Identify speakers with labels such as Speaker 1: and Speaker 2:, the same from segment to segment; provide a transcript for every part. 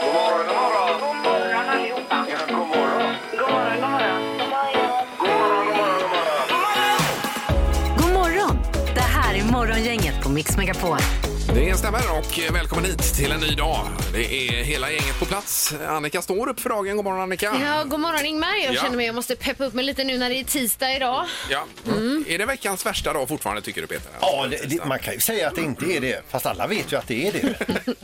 Speaker 1: God morgon, god morgon. God morgon allihopa. Ja, god morgon. God morgon, god morgon. God morgon, god morgon,
Speaker 2: God
Speaker 1: god morgon.
Speaker 2: morgon! Det här är Morgongänget på Mix Megapol.
Speaker 3: Det stämmer och välkommen hit till en ny dag. Det är hela gänget på plats. Annika står upp för dagen. God morgon Annika.
Speaker 4: Ja, god morgon Ingmar. Jag
Speaker 3: Ja.
Speaker 4: känner mig jag måste peppa upp mig lite nu när det är tisdag idag.
Speaker 3: Ja.
Speaker 4: Mm.
Speaker 3: Är det veckans värsta dag fortfarande tycker du Peter?
Speaker 5: Ja, det, det, man kan ju säga att det inte är det, fast alla vet ju att det är det.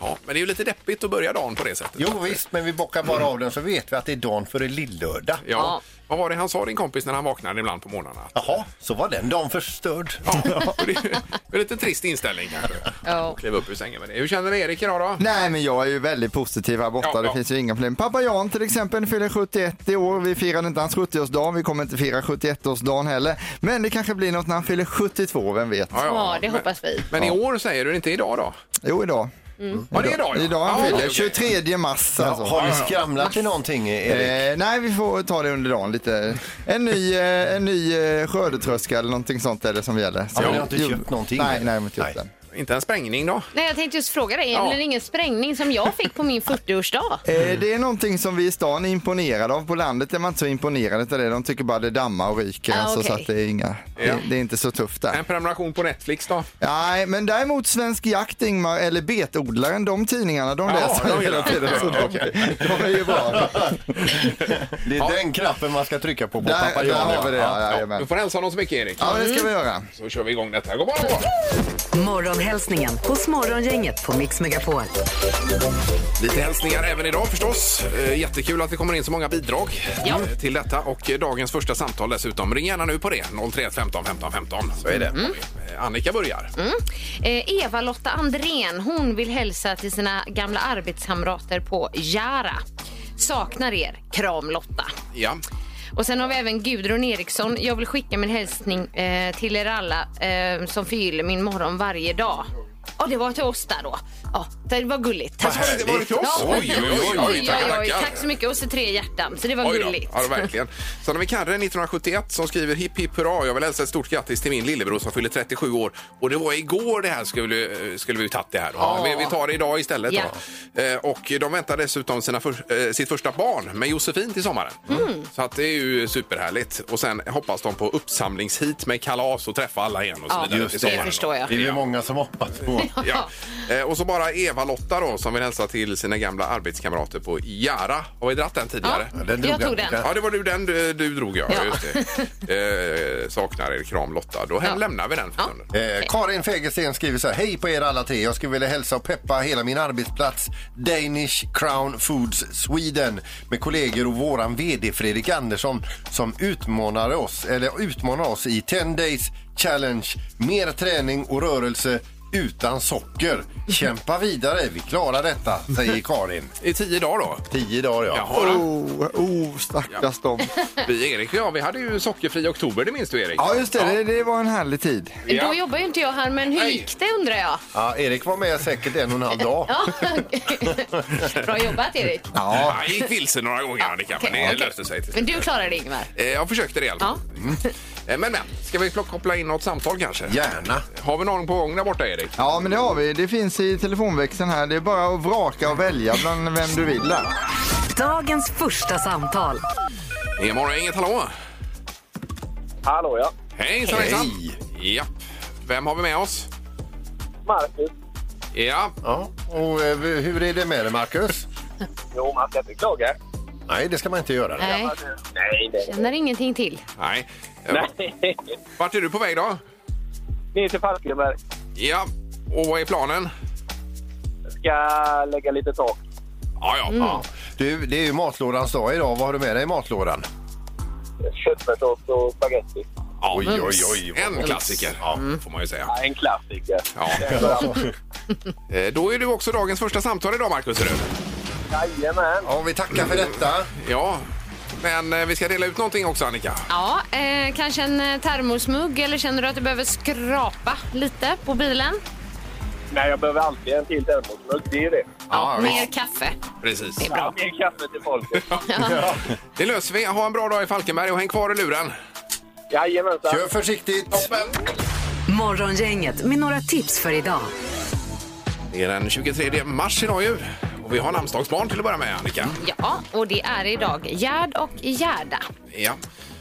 Speaker 3: Ja, men det är ju lite deppigt att börja dagen på det sättet.
Speaker 5: Jo visst, men vi bockar bara av den så vet vi att det är dagen före lillördag.
Speaker 3: Ja. Vad var det han sa din kompis när han vaknade ibland på morgnarna?
Speaker 5: Jaha, så var den dagen förstörd.
Speaker 3: Ja, och det är en lite trist inställning kanske.
Speaker 4: Ja.
Speaker 3: Kliva upp ur sängen med det. Hur känner Erik idag då?
Speaker 6: Nej, men jag är ju väldigt positiv här borta.
Speaker 3: Ja,
Speaker 6: det
Speaker 3: ja.
Speaker 6: finns ju inga problem. Pappa Jan till exempel fyller 71 i år. Vi firade inte hans 70-årsdag. Vi kommer inte fira 71-årsdagen heller. Men det kanske blir något när han fyller 72, vem vet?
Speaker 4: Ja, det
Speaker 3: men,
Speaker 4: hoppas vi. Mm.
Speaker 3: Men i år säger du inte idag då?
Speaker 6: Jo, idag.
Speaker 3: Ja, det är idag. ja.
Speaker 6: Idag han
Speaker 3: Ja,
Speaker 6: fyller.
Speaker 3: okej, okej.
Speaker 6: 23 mars
Speaker 5: Ja,
Speaker 6: alltså.
Speaker 5: har ni skramlat i någonting Erik?
Speaker 6: Eh, nej, vi får ta det under dagen lite. En ny, eh, en ny eh, skördetröska eller någonting sånt är det som gäller. Så-
Speaker 5: men ni har inte
Speaker 6: Jo,
Speaker 5: köpt någonting?
Speaker 6: Nej, nej, jag har inte
Speaker 5: Nej.
Speaker 6: gjort den.
Speaker 3: Inte en sprängning då?
Speaker 4: Nej, jag tänkte just fråga dig, är
Speaker 3: Ja.
Speaker 4: det ingen sprängning som jag fick på min 40-årsdag?
Speaker 6: Eh, Det är någonting som vi i stan är imponerade av. På landet är man inte så imponerad av det. De tycker bara det dammar och ryker.
Speaker 4: Ah,
Speaker 6: alltså,
Speaker 4: okej.
Speaker 6: så att det, är inga,
Speaker 3: Ja.
Speaker 6: det, det är inte så tufft där.
Speaker 3: En prenumeration på Netflix då?
Speaker 6: Nej, men däremot Svensk Jakt, Ingmar, eller Betodlaren, de tidningarna, de läser jag hela tiden. Så de, de är ju bra.
Speaker 5: Det är den knappen man ska trycka på på
Speaker 6: Där,
Speaker 5: pappa
Speaker 6: där
Speaker 5: Jan.
Speaker 6: har vi det, ja,
Speaker 3: Du
Speaker 6: jajamän.
Speaker 3: får hälsa honom så mycket Erik.
Speaker 6: Ja, det ska vi göra.
Speaker 3: Så kör vi igång detta. God morgon!
Speaker 2: Morgonhälsningen hos Morgongänget på Mix Megapol.
Speaker 3: Lite hälsningar även idag förstås. Eh, Jättekul att det kommer in så många bidrag
Speaker 4: Ja.
Speaker 3: eh, till detta och eh, dagens första samtal dessutom. Ring gärna nu på det. 031 15 15 15. Så är det. Eh, Annika börjar.
Speaker 4: Eh, Eva-Lotta Andrén, hon vill hälsa till sina gamla arbetskamrater på Jara. Saknar er, kram Lotta.
Speaker 3: Ja.
Speaker 4: Och sen har vi även Gudrun Eriksson. Jag vill skicka min hälsning eh, till er alla eh, som förgyller min morgon varje dag. Ja, det var till oss där då. Ja, det var gulligt. Tack
Speaker 3: Har det varit till oss? Oj, oj, oj, oj, tackar, tackar.
Speaker 4: Tack så mycket. Och så tre hjärtan, så det var
Speaker 3: Oj då.
Speaker 4: gulligt.
Speaker 3: Ja, det var verkligen. Sen har vi Karre 1971 som skriver hipp hipp hurra. Jag vill hälsa ett stort grattis till min lillebror som fyller 37 år. Och det var igår det här skulle, eh, skulle vi tagit det här. då. Vi, vi tar det idag istället. då. Eh, och de väntar dessutom sina för, eh, sitt första barn med Josefin till sommaren.
Speaker 4: Mm.
Speaker 3: Så att det är ju superhärligt. Och sen hoppas de på uppsamlingshit med kalas och träffa alla igen och så
Speaker 4: Ja,
Speaker 3: vidare.
Speaker 4: just
Speaker 3: till
Speaker 4: det.
Speaker 3: sommaren.
Speaker 4: Det förstår jag.
Speaker 5: Det är ju många som hoppas på.
Speaker 3: Ja. Eh, och så bara Eva-Lotta då som vill hälsa till sina gamla arbetskamrater på Jara. Har vi dratt den tidigare?
Speaker 4: Ja,
Speaker 5: den drog
Speaker 4: jag tog
Speaker 5: den.
Speaker 4: den.
Speaker 3: Ja, det var du, den du, du drog, ja.
Speaker 4: Ja.
Speaker 3: Just det. Eh, saknar er kram, Lotta. Då
Speaker 4: Ja.
Speaker 3: lämnar vi den för
Speaker 4: Ja.
Speaker 3: stunden.
Speaker 5: Eh, Karin Fegersten skriver så här. Hej på er alla tre. Jag skulle vilja hälsa och peppa hela min arbetsplats Danish Crown Foods Sweden med kollegor och våran VD Fredrik Andersson som utmanar oss, eller utmanar oss i 10 Days Challenge. Mer träning och rörelse utan socker. Kämpa vidare. Vi klarar detta, säger Karin.
Speaker 3: I tio dagar då.
Speaker 5: Tio dagar, ja.
Speaker 3: Jaha, då.
Speaker 6: Oh, oh stackars dem.
Speaker 3: vi Erik och jag, vi hade ju sockerfri oktober, det minns du Erik?
Speaker 6: Ja, just det. Det, det var en härlig tid.
Speaker 3: Ja.
Speaker 4: Då jobbar ju inte jag här, men hur
Speaker 3: Nej.
Speaker 4: gick det undrar jag?
Speaker 5: ja. Erik var med säkert en och en halv dag.
Speaker 4: Ja. Bra jobbat Erik.
Speaker 3: Ja, Jag gick vilse några gånger Annika, men det
Speaker 4: okej.
Speaker 3: löste sig till slut.
Speaker 4: Men du klarade det Ingmar.
Speaker 3: Eh, Jag försökte det i alla fall. Mm. Eh, Men, men, ska vi plocka- koppla in något samtal kanske?
Speaker 5: Gärna.
Speaker 3: Har vi någon på gång där borta Erik?
Speaker 6: Ja, men det har vi. Det finns i telefonväxeln här. Det är bara att vraka och välja bland vem du vill där.
Speaker 2: Dagens första samtal.
Speaker 3: Det är morgon, inget hallå?
Speaker 7: Hallå ja.
Speaker 3: Hej, så Hej! Ja. Vem har vi med oss?
Speaker 7: Marcus.
Speaker 3: Ja,
Speaker 5: Ja. Och eh, hur är det med dig, Marcus?
Speaker 7: Jo, man ska inte klaga.
Speaker 5: Nej, det ska man inte göra.
Speaker 4: Nej,
Speaker 7: Nej, nej.
Speaker 4: lämnar ingenting till.
Speaker 3: nej. Eh,
Speaker 7: nej.
Speaker 3: Vart är du på väg då?
Speaker 7: Ner till Falkenberg.
Speaker 3: Ja, och vad är planen?
Speaker 7: Ska lägga lite tak.
Speaker 3: Ja, ja. ja.
Speaker 5: Du, det är ju matlådans dag idag. Vad har du med dig i matlådan?
Speaker 7: Köttfärssås och spaghetti.
Speaker 3: Ja,
Speaker 5: Oj, oj, oj, vad
Speaker 3: Mm. En
Speaker 5: gott.
Speaker 3: klassiker, Mm. får man ju säga.
Speaker 7: Ja, en klassiker.
Speaker 3: Ja. Eh, Då är du också dagens första samtal idag, Markus. är du?
Speaker 7: Jajamän.
Speaker 5: Ja, vi tackar för detta.
Speaker 3: Ja, men eh, vi ska dela ut någonting också, Annika.
Speaker 4: Ja, eh, kanske en eh, termosmugg eller känner du att du behöver skrapa lite på bilen?
Speaker 7: Nej, jag behöver alltid en till termosmugg. Det är ju det.
Speaker 3: Ja,
Speaker 4: Mer kaffe.
Speaker 3: Precis.
Speaker 7: Ja, mer kaffe till folket.
Speaker 3: Det löser vi. Ha en bra dag i Falkenberg och häng kvar i luren.
Speaker 7: Jajamensan.
Speaker 5: Kör försiktigt.
Speaker 2: Morgongänget med några tips för idag.
Speaker 3: Det är den 23 mars idag ju. Vi har namnsdagsbarn till att börja med, Annika.
Speaker 4: Ja, och det är idag Gerd och Gerda.
Speaker 3: Ja.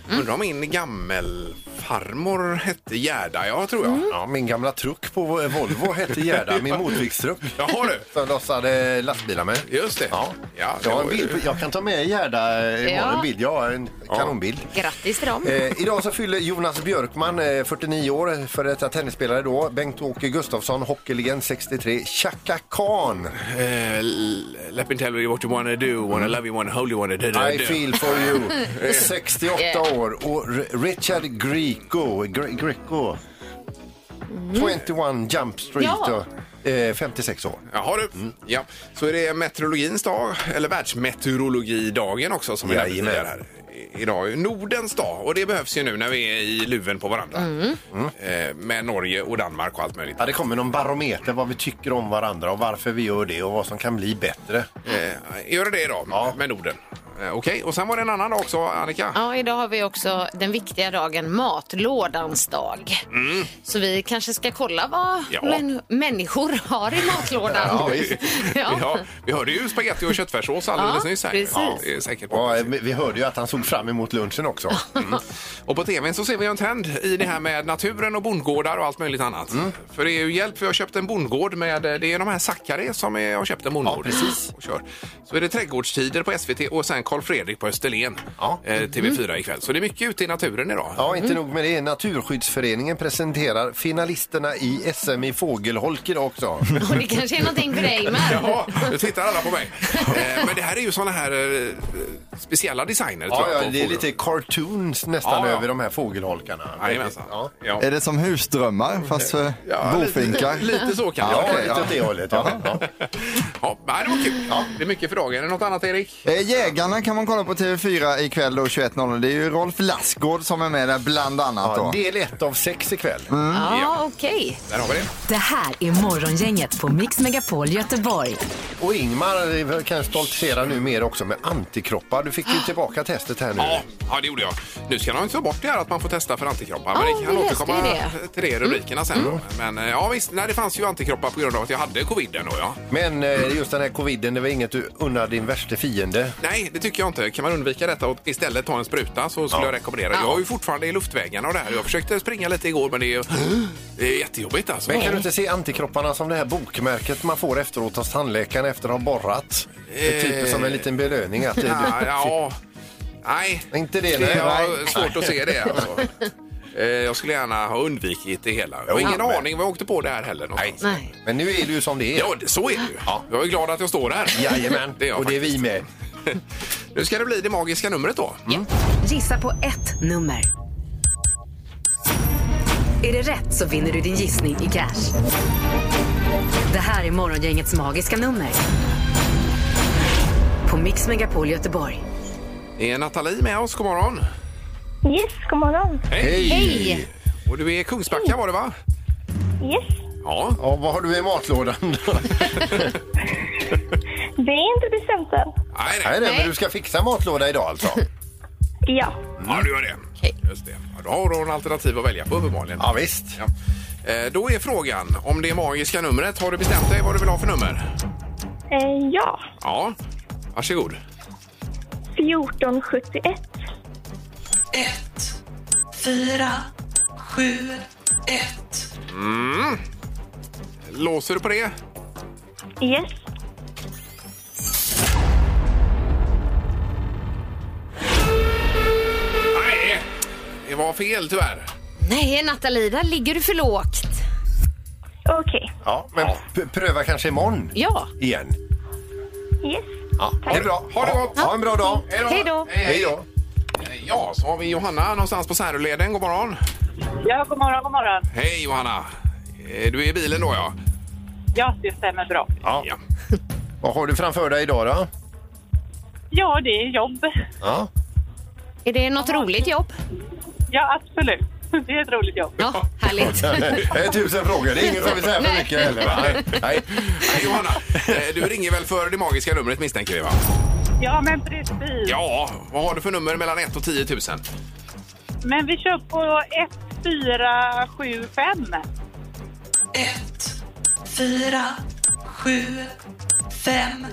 Speaker 5: Mm.
Speaker 3: Undrar om min gammelfarmor hette Gerda, ja tror jag.
Speaker 5: Mm. Ja, min gamla truck på Volvo hette Gerda, min motviktstruck.
Speaker 3: Jaha du.
Speaker 5: Som jag lossade lastbilar med.
Speaker 3: Just det.
Speaker 5: Ja.
Speaker 3: Ja, det
Speaker 5: jag, har en
Speaker 3: var ju
Speaker 5: bild, på-
Speaker 3: du.
Speaker 5: jag kan ta med Gerda eh, imorgon,
Speaker 4: Ja.
Speaker 5: en bild. Jag har en kanonbild.
Speaker 4: Grattis till dem.
Speaker 5: Eh, idag så fyller Jonas Björkman, eh, 49 år, för detta tennisspelare då. Bengt-Åke Gustafsson, hockeylegend 63. Chaka Khan,
Speaker 3: Eh, l- Let me tell you what you wanna do, wanna love you, wanna hold you, wanna do, do,
Speaker 5: Mm. I
Speaker 3: do.
Speaker 5: feel for you, 68
Speaker 4: Yeah.
Speaker 5: år. Och R- Richard Grieco, Gre- Greco,
Speaker 3: Mm.
Speaker 5: 21 Jump Street,
Speaker 4: Mm. Ja.
Speaker 5: och, eh, 56 år. Mm.
Speaker 3: Jaha du. Ja. Så är det meteorologins dag, eller världsmeteorologidagen också som vi nämnde
Speaker 5: Jajamän.
Speaker 3: tidigare här. I- Idag är ju Nordens dag och det behövs ju nu när vi är i luven på varandra.
Speaker 5: Mm.
Speaker 4: Mm.
Speaker 3: Eh, med Norge och Danmark och allt möjligt.
Speaker 5: Ja, det kommer någon barometer vad vi tycker om varandra och varför vi gör det och vad som kan bli bättre.
Speaker 3: Eh, gör det idag
Speaker 5: Ja.
Speaker 3: med Norden. Eh, Okej, och sen var det en annan dag också Annika.
Speaker 4: Ja, idag har vi också den viktiga dagen matlådans dag.
Speaker 5: Mm.
Speaker 4: Så vi kanske ska kolla vad
Speaker 3: Ja.
Speaker 4: män- människor har i matlådan.
Speaker 5: Ja, visst.
Speaker 4: Ja.
Speaker 3: Ja, vi hörde ju spaghetti och köttfärssås alldeles
Speaker 4: Ja,
Speaker 3: nyss. Här.
Speaker 4: precis.
Speaker 3: det är säkert Mm.
Speaker 5: Ja, eh, vi hörde ju att han såg fram emot lunchen också.
Speaker 3: Och på tvn så ser vi en trend i det här med naturen och bondgårdar och allt möjligt annat.
Speaker 5: Mm.
Speaker 3: För det är ju hjälp, för jag har köpt en bondgård med, det är de här Zackari som är, har köpt en bondgård.
Speaker 5: precis.
Speaker 3: Och kör. Så är det trädgårdstider på SVT och sen Karl Fredrik på Österlen,
Speaker 5: Ja.
Speaker 3: eh, TV4
Speaker 4: Mm.
Speaker 3: ikväll. Så det är mycket ute i naturen idag.
Speaker 5: Ja, inte nog med det. Naturskyddsföreningen presenterar finalisterna i SM i fågelholk idag också.
Speaker 4: Och det kanske är någonting för dig med.
Speaker 3: Jaha, nu tittar alla på mig. Eh, Men det här är ju såna här eh, speciella designer.
Speaker 5: Ja,
Speaker 3: tror jag,
Speaker 5: ja,
Speaker 3: på
Speaker 5: det är
Speaker 3: fordon.
Speaker 5: lite cartoons nästan
Speaker 3: Ja, ja.
Speaker 5: över de här fågelholkarna.
Speaker 3: Jajamensan.
Speaker 5: Ja,
Speaker 3: Ja.
Speaker 6: Är det som husdrömmar fast för
Speaker 3: Ja,
Speaker 6: bofinkar?
Speaker 3: Lite, lite så kan
Speaker 5: ja,
Speaker 3: det vara.
Speaker 5: lite åt det hållet. Ja. Ja.
Speaker 3: Ja, nej, det var kul. Det är mycket för dagen. Är det något annat, Erik?
Speaker 6: Eh, Jägarna kan man kolla på TV4 ikväll då 21.00. Det är ju Rolf Lassgård som är med där bland annat.
Speaker 5: Ja,
Speaker 6: Då. Mm.
Speaker 5: del ett av sex ikväll.
Speaker 4: Ja, okej.
Speaker 3: Där har vi det.
Speaker 2: Det här är Morgongänget på Mix Megapol Göteborg.
Speaker 5: Och Ingmar eh, kan stoltsera nu mer också med antikroppar. Du fick ju tillbaka testet här nu.
Speaker 3: Ja, ja, det gjorde jag. Nu ska de ta bort det här att man får testa för antikroppar.
Speaker 4: Ja,
Speaker 3: men det kan
Speaker 4: vi läste
Speaker 3: återkomma
Speaker 4: ju det. Mm.
Speaker 3: till det i rubrikerna sen.
Speaker 5: Mm.
Speaker 3: då. Men eh, ja, visst, nej, det fanns ju antikroppar på grund av att jag hade coviden då, ja.
Speaker 5: Men eh, just den här coviden, det var inget du unnar din värsta fiende.
Speaker 3: Nej, det tycker jag inte. Kan man undvika detta och istället ta en spruta så skulle jag rekommendera. det. Jag är ju fortfarande i luftvägarna och det här. Jag försökte springa lite igår men det är, ju- det är jättejobbigt alltså.
Speaker 5: Men kan du inte se antikropparna som det här bokmärket man får efteråt hos tandläkaren efter att ha borrat? Det är typ som en liten belöning. Att det,
Speaker 3: Eh. Ja, ja, nej.
Speaker 5: Inte det,
Speaker 3: nej.
Speaker 5: nej.
Speaker 3: Jag har svårt att se det alltså. Eh, Jag skulle gärna ha undvikit det hela. Jag har
Speaker 5: Jo,
Speaker 3: ingen
Speaker 5: men-
Speaker 3: aning vad jag åkte på det här heller. någonstans.
Speaker 4: Nej.
Speaker 5: Men nu är det ju som det är.
Speaker 3: Ja, det- så är det ju. Jag är glad att jag står här.
Speaker 5: Jajamän,
Speaker 3: Det är jag
Speaker 5: och det är vi med.
Speaker 3: Nu ska det bli det magiska numret då.
Speaker 2: Gissa på ett nummer. Är det rätt så vinner du din gissning i cash. Det här är Morgongängets magiska nummer. På Mix Megapol Göteborg.
Speaker 3: Är Nathalie med oss? God morgon.
Speaker 8: Yes, god morgon.
Speaker 3: Hej!
Speaker 4: Hej!
Speaker 3: Och du är i Kungsbacka var det va?
Speaker 8: Yes.
Speaker 3: Ja.
Speaker 5: Ja, vad har du i matlådan?
Speaker 8: Det är inte bestämt än.
Speaker 3: Nej, nej.
Speaker 5: Nej, nej, men du ska fixa matlåda idag alltså?
Speaker 8: Ja.
Speaker 3: Ja, du gör det. Just det. Ja, då har hon alternativ att välja på uppenbarligen.
Speaker 5: Ja, visst.
Speaker 3: Ja. Eh, Då är frågan om det magiska numret. Har du bestämt dig vad du vill ha för nummer?
Speaker 8: Eh, ja.
Speaker 3: Ja. Varsågod.
Speaker 8: 1471.
Speaker 3: Mm. Låser du på det?
Speaker 8: Yes.
Speaker 3: Nej! Det var fel tyvärr.
Speaker 4: Nej, Nathalie, där ligger du för lågt.
Speaker 8: Okej.
Speaker 5: Ja, men p- pröva kanske imorgon
Speaker 4: Ja.
Speaker 5: igen.
Speaker 8: Yes.
Speaker 5: Ja, det är bra.
Speaker 3: Ha det gott.
Speaker 5: Ha en bra dag.
Speaker 4: Hej då.
Speaker 5: Hej då.
Speaker 3: Eh, Ja, så har vi Johanna någonstans på Säröleden. God morgon.
Speaker 9: Ja, god morgon, god morgon.
Speaker 3: Hej Johanna! Eh, Du är i bilen då ja?
Speaker 9: Ja, det stämmer bra.
Speaker 5: Ja. Vad har du framför dig idag då?
Speaker 9: Ja, det är jobb.
Speaker 5: Ja.
Speaker 4: Är det något roligt jobb?
Speaker 9: Ja, absolut. Det är ett roligt jobb.
Speaker 4: Ja, härligt.
Speaker 5: Det är tusen frågor. Det är inget som vi säger för mycket heller. va? Nej. Nej.
Speaker 3: Hej Johanna! Eh, Du ringer väl för det magiska numret misstänker vi va?
Speaker 9: Mm. Ja, men precis.
Speaker 3: Ja, vad har du för nummer mellan 1 och 10 000?
Speaker 9: Men vi kör på 1475.
Speaker 10: Fem.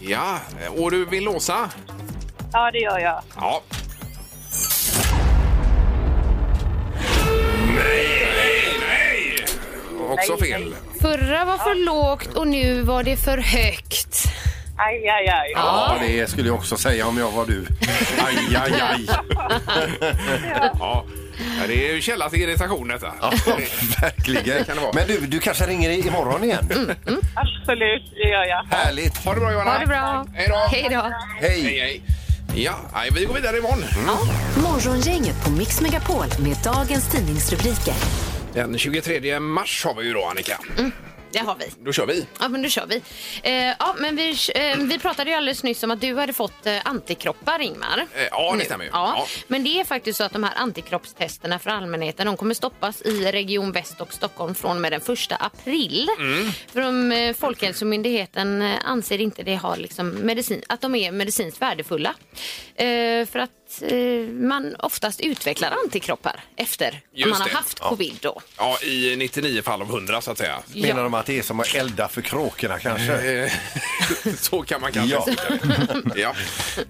Speaker 3: Ja, Eh, och du vill låsa?
Speaker 9: Ja, det gör jag.
Speaker 3: Ja. Nej, nej! Också fel.
Speaker 4: Förra var för lågt och nu var det för högt.
Speaker 9: Aj, aj, aj.
Speaker 5: Ja, det skulle jag också säga om jag var du. Aj, aj, aj.
Speaker 3: Ja. Ja, det är ju källa till irritation detta.
Speaker 5: Verkligen.
Speaker 3: Det kan det vara. Mm.
Speaker 5: Men du, du kanske ringer i- imorgon igen?
Speaker 9: Absolut, det gör jag.
Speaker 5: Härligt.
Speaker 3: Ha det bra Johanna.
Speaker 4: Ha det bra.
Speaker 3: Hej då.
Speaker 4: Hej då.
Speaker 3: Hej,
Speaker 5: Hej. Mm.
Speaker 3: hej. Ja, nej, vi går vidare imorgon.
Speaker 2: Morgongänget på Mix Megapol med dagens tidningsrubriker.
Speaker 3: Den 23 mars har vi ju då Annika.
Speaker 5: Mm.
Speaker 4: Det har vi.
Speaker 3: Då kör vi.
Speaker 4: Ja, men nu kör vi. Eh, ja, men vi, eh, vi pratade ju alldeles nyss om att du hade fått eh, antikroppar, Ingmar.
Speaker 3: Eh, ja, det
Speaker 4: Nu.
Speaker 3: stämmer ju.
Speaker 4: Ja.
Speaker 3: Ja.
Speaker 4: Men det är faktiskt så att de här antikroppstesterna för allmänheten de kommer stoppas i Region Väst och Stockholm från och med den 1 april.
Speaker 3: Mm.
Speaker 4: För de, eh, Folkhälsomyndigheten eh, anser inte det har liksom medicin, att de är medicinskt värdefulla. Eh, för att eh, man oftast utvecklar antikroppar efter att
Speaker 3: Just
Speaker 4: man har
Speaker 3: det.
Speaker 4: haft
Speaker 3: Ja.
Speaker 4: covid. Då.
Speaker 3: Ja, i 99 fall av 100 så att säga.
Speaker 5: Menar de att det är som att elda för kråkorna kanske?
Speaker 3: Eh, Så kan man kanske
Speaker 5: Ja.
Speaker 3: uttrycka det. Ja.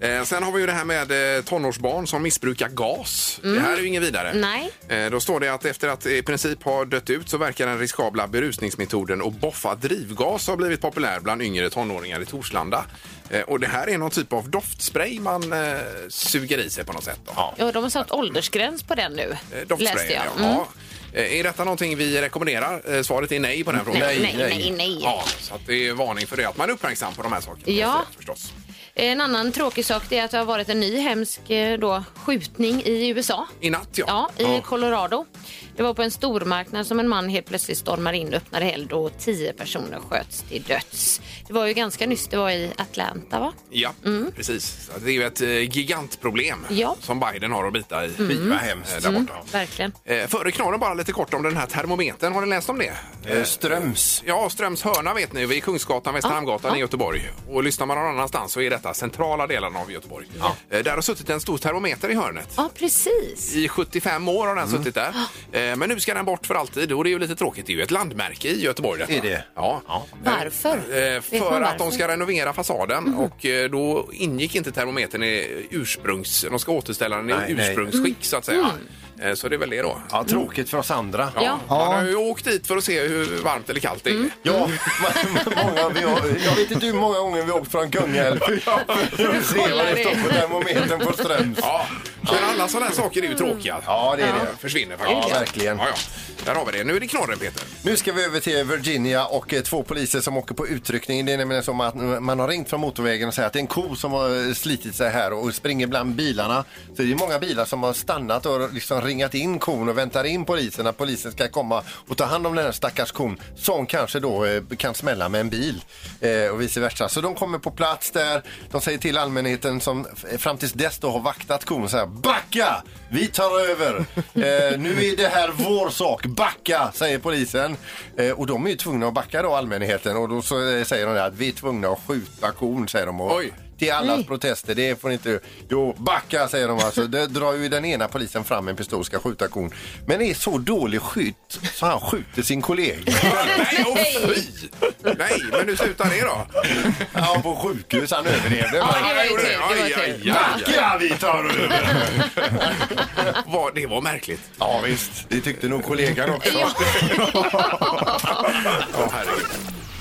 Speaker 3: Eh, Sen har vi ju det här med eh, tonårsbarn som missbrukar gas. Det här är ju inget vidare.
Speaker 4: Mm. Nej.
Speaker 3: Eh, Då står det att efter att i princip har dött ut så verkar den riskabla berusningsmetoden att boffa drivgas ha blivit populär bland yngre tonåringar i Torslanda. Eh, Och det här är någon typ av doftspray man eh, suger i sig på något sätt. Då.
Speaker 4: Ja, de har satt åldersgräns på den nu,
Speaker 3: Eh, Doftspray,
Speaker 4: läste jag.
Speaker 3: ja.
Speaker 4: Mm.
Speaker 3: Ja. Eh, Är detta någonting vi rekommenderar? Eh, Svaret är nej på den frågan.
Speaker 4: Nej, nej, nej. nej.
Speaker 3: Ja, så att det är varning för det, att man är uppmärksam på de här sakerna.
Speaker 4: Ja.
Speaker 3: Förstås.
Speaker 4: En annan tråkig sak det är att det har varit en ny hemsk eh, då, skjutning i USA.
Speaker 3: I natt, ja.
Speaker 4: Ja, i Colorado. Det var på en stormarknad som en man helt plötsligt stormar in och öppnar eld och tio personer sköts till döds. Det var ju ganska nyss, det var i Atlanta va?
Speaker 3: Ja, precis. Så Det är ju ett eh, gigantproblem
Speaker 4: Ja. Mm.
Speaker 3: som Biden har att bita i.
Speaker 5: Fy, vad hemskt.
Speaker 3: Eh, Där borta.
Speaker 4: Verkligen.
Speaker 3: Eh, Före knorren bara lite kort om den här termometern. Har ni läst om det?
Speaker 5: Eh, Ströms.
Speaker 3: Ja, Ströms hörna vet ni, vid Kungsgatan, Västra Hamngatan i Göteborg. Och lyssnar man någon annanstans så är detta centrala delen av Göteborg. Eh, Där har suttit en stor termometer i hörnet.
Speaker 4: Ja, precis.
Speaker 3: I 75 år har den suttit där. Eh, Men nu ska den bort för alltid och det är ju lite tråkigt. Det är ju ett landmärke i Göteborg. Detta.
Speaker 5: Är det?
Speaker 3: Ja.
Speaker 4: Varför?
Speaker 3: Eh,
Speaker 4: Vet man
Speaker 3: För att de
Speaker 4: varför? Mhm.
Speaker 3: ska renovera fasaden och eh, då ingick inte termometern i ursprungs... De ska återställa den i
Speaker 5: Nej, nej.
Speaker 3: ursprungsskick så att säga. Eh, Så det är väl det då.
Speaker 5: Ja, tråkigt för oss andra.
Speaker 4: Mm. Ja. Mm.
Speaker 3: Man har ju åkt dit för att se hur varmt eller kallt det är.
Speaker 5: Ja, många, vi har, jag vet inte hur många gånger vi har åkt från Kungälv för att se vad det står på termometern på Ströms.
Speaker 3: Ja, men alla sådana här saker är ju tråkiga.
Speaker 5: Ja, det är det.
Speaker 3: Försvinner faktiskt.
Speaker 5: Ja, verkligen.
Speaker 3: Ja, ja. Där har vi det. Nu är det knorren, Peter.
Speaker 5: Nu ska vi över till Virginia och eh, två poliser som åker på utryckning. Det är nämligen som att eh, man har ringt från motorvägen och säger att det är en ko som har eh, slitit sig här och springer bland bilarna. Så det är många bilar som har stannat och liksom ringat in kon och väntar in polisen att polisen ska komma och ta hand om den här stackars kon som kanske då eh, kan smälla med en bil eh, och vice versa. Så de kommer på plats där. De säger till allmänheten som f- fram tills dess då har vaktat kon så här backa! Vi tar över! Eh, nu är det här vår sak, backa! säger polisen. Eh, och de är ju tvungna att backa då allmänheten och då så, eh, säger de det att vi är tvungna att skjuta kon säger de. Och,
Speaker 3: Oj.
Speaker 5: Till allas protester, det får ni inte... Jo, backa säger de alltså. Det drar ju den ena polisen fram en pistol och ska skjuta kon. Men är så dålig skytt så han skjuter sin kollega.
Speaker 3: Nej, åh fy! Nej, men nu slutar det då.
Speaker 5: Han på sjukhus, han överlevde.
Speaker 4: det var ju
Speaker 3: Han gjorde
Speaker 4: tur, det var
Speaker 3: Aj,
Speaker 4: tur.
Speaker 3: aj, aj, aj.
Speaker 5: Backa, vi tar över!
Speaker 3: Vad- Det var märkligt.
Speaker 5: Ja visst, det tyckte nog kollegan också.
Speaker 3: Ja, herregud.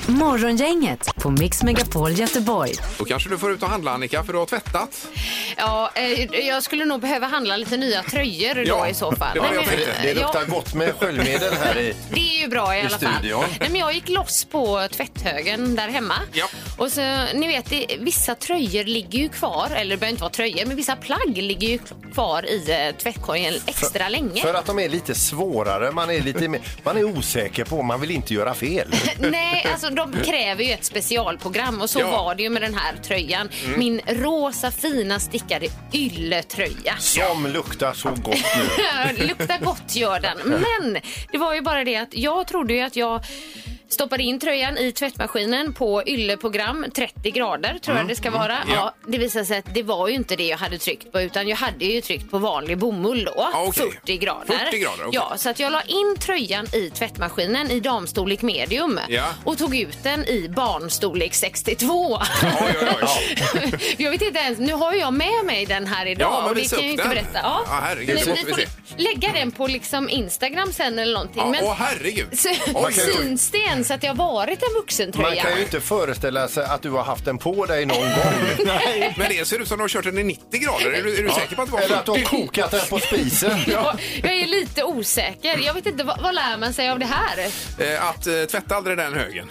Speaker 2: Morgongänget på Mix Megapol Göteborg.
Speaker 3: Då kanske du får ut och handla, Annika, för du har tvättat.
Speaker 4: Ja, eh, jag skulle nog behöva handla lite nya tröjor då
Speaker 3: Ja,
Speaker 4: i så fall.
Speaker 3: det var det jag
Speaker 4: Nej, men-
Speaker 3: tänkte.
Speaker 5: Det
Speaker 4: Ja.
Speaker 5: luktar gott med sköljmedel här i.
Speaker 4: Det är ju bra i alla
Speaker 5: studion.
Speaker 4: fall. Nej, men jag gick loss på tvätthögen där hemma.
Speaker 3: Ja.
Speaker 4: Och så, ni vet, det, vissa tröjor ligger ju kvar, eller det behöver inte vara tröjor, men vissa plagg ligger ju kvar i eh, tvättkorgen extra länge.
Speaker 5: För att de är lite svårare, man är lite mer, man är osäker på, man vill inte göra fel.
Speaker 4: Nej, alltså de kräver ju ett specialprogram och så
Speaker 3: Ja.
Speaker 4: var det ju med den här tröjan.
Speaker 5: Mm.
Speaker 4: Min rosa fina stickade ylletröja.
Speaker 5: Som luktar så gott nu.
Speaker 4: Luktar gott gör den. Men det var ju bara det att jag trodde ju att jag Stoppade in tröjan i tvättmaskinen på ylleprogram, 30 grader tror
Speaker 3: Mm,
Speaker 4: jag det ska vara. Ja. det visade sig att det var ju inte det jag hade tryckt på utan jag hade ju tryckt på vanlig bomull då,
Speaker 3: Ja, Ah, okej.
Speaker 4: 40 grader.
Speaker 3: 40 grader, okej.
Speaker 4: Ja, så att jag la in tröjan i tvättmaskinen i damstorlek medium
Speaker 3: Ja.
Speaker 4: och tog ut den i barnstorlek 62.
Speaker 3: Oj, oj, oj.
Speaker 4: jag vet inte ens, nu har ju jag med mig den här idag
Speaker 3: Ja, men
Speaker 4: och det
Speaker 3: visa
Speaker 4: kan jag ju
Speaker 3: upp
Speaker 4: inte
Speaker 3: den.
Speaker 4: berätta. Ja.
Speaker 3: Ja, herregud,
Speaker 4: Men
Speaker 3: så måste
Speaker 4: vi
Speaker 3: vi
Speaker 4: får
Speaker 3: se.
Speaker 4: lägga den på liksom Instagram sen eller någonting.
Speaker 3: Ja,
Speaker 4: men
Speaker 3: Åh herregud.
Speaker 4: så,
Speaker 3: Oj, oj,
Speaker 4: syns det ens att jag varit en vuxentröja?
Speaker 5: Man kan ju inte föreställa sig att du har haft den på dig någon gång.
Speaker 3: oj. Men det ser ut som de har kört den i 90 grader. Är du, är du säker på att det
Speaker 5: Eller
Speaker 3: var
Speaker 5: att du har
Speaker 3: 40?
Speaker 5: kokat den på spisen.
Speaker 4: Ja, Jag är lite osäker. Jag vet inte, vad, vad lär man sig av det här?
Speaker 3: Eh, att eh, tvätta aldrig den högen.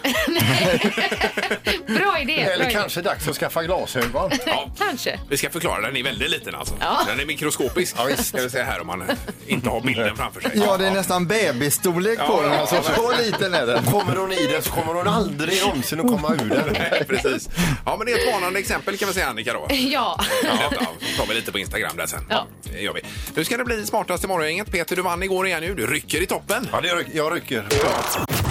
Speaker 4: Bra idé. bra
Speaker 5: Eller
Speaker 4: idé.
Speaker 5: kanske dags att skaffa glasögon.
Speaker 3: Ja.
Speaker 4: Kanske.
Speaker 3: Vi ska förklara, den är väldigt liten alltså.
Speaker 4: Ja.
Speaker 3: Den är mikroskopisk.
Speaker 5: Ja, visst.
Speaker 3: Ska vi säga här om man eh, inte har bilden framför sig.
Speaker 6: Ja, det är nästan bebisstorlek på
Speaker 3: Ja.
Speaker 6: den. Alltså, så liten är den.
Speaker 5: Kommer hon i den så kommer hon aldrig någonsin att komma ur den.
Speaker 3: Nej, precis. Ja, men det är ett varnande exempel kan vi säga Annika då.
Speaker 4: Ja.
Speaker 3: Ja, tar vi lite på Instagram där sen.
Speaker 4: Ja.
Speaker 3: Det gör vi. Nu ska det bli smartast i morgongänget. Peter, du vann igår igen nu. Du rycker i toppen. Mm.
Speaker 5: Ja, det ryck, jag rycker.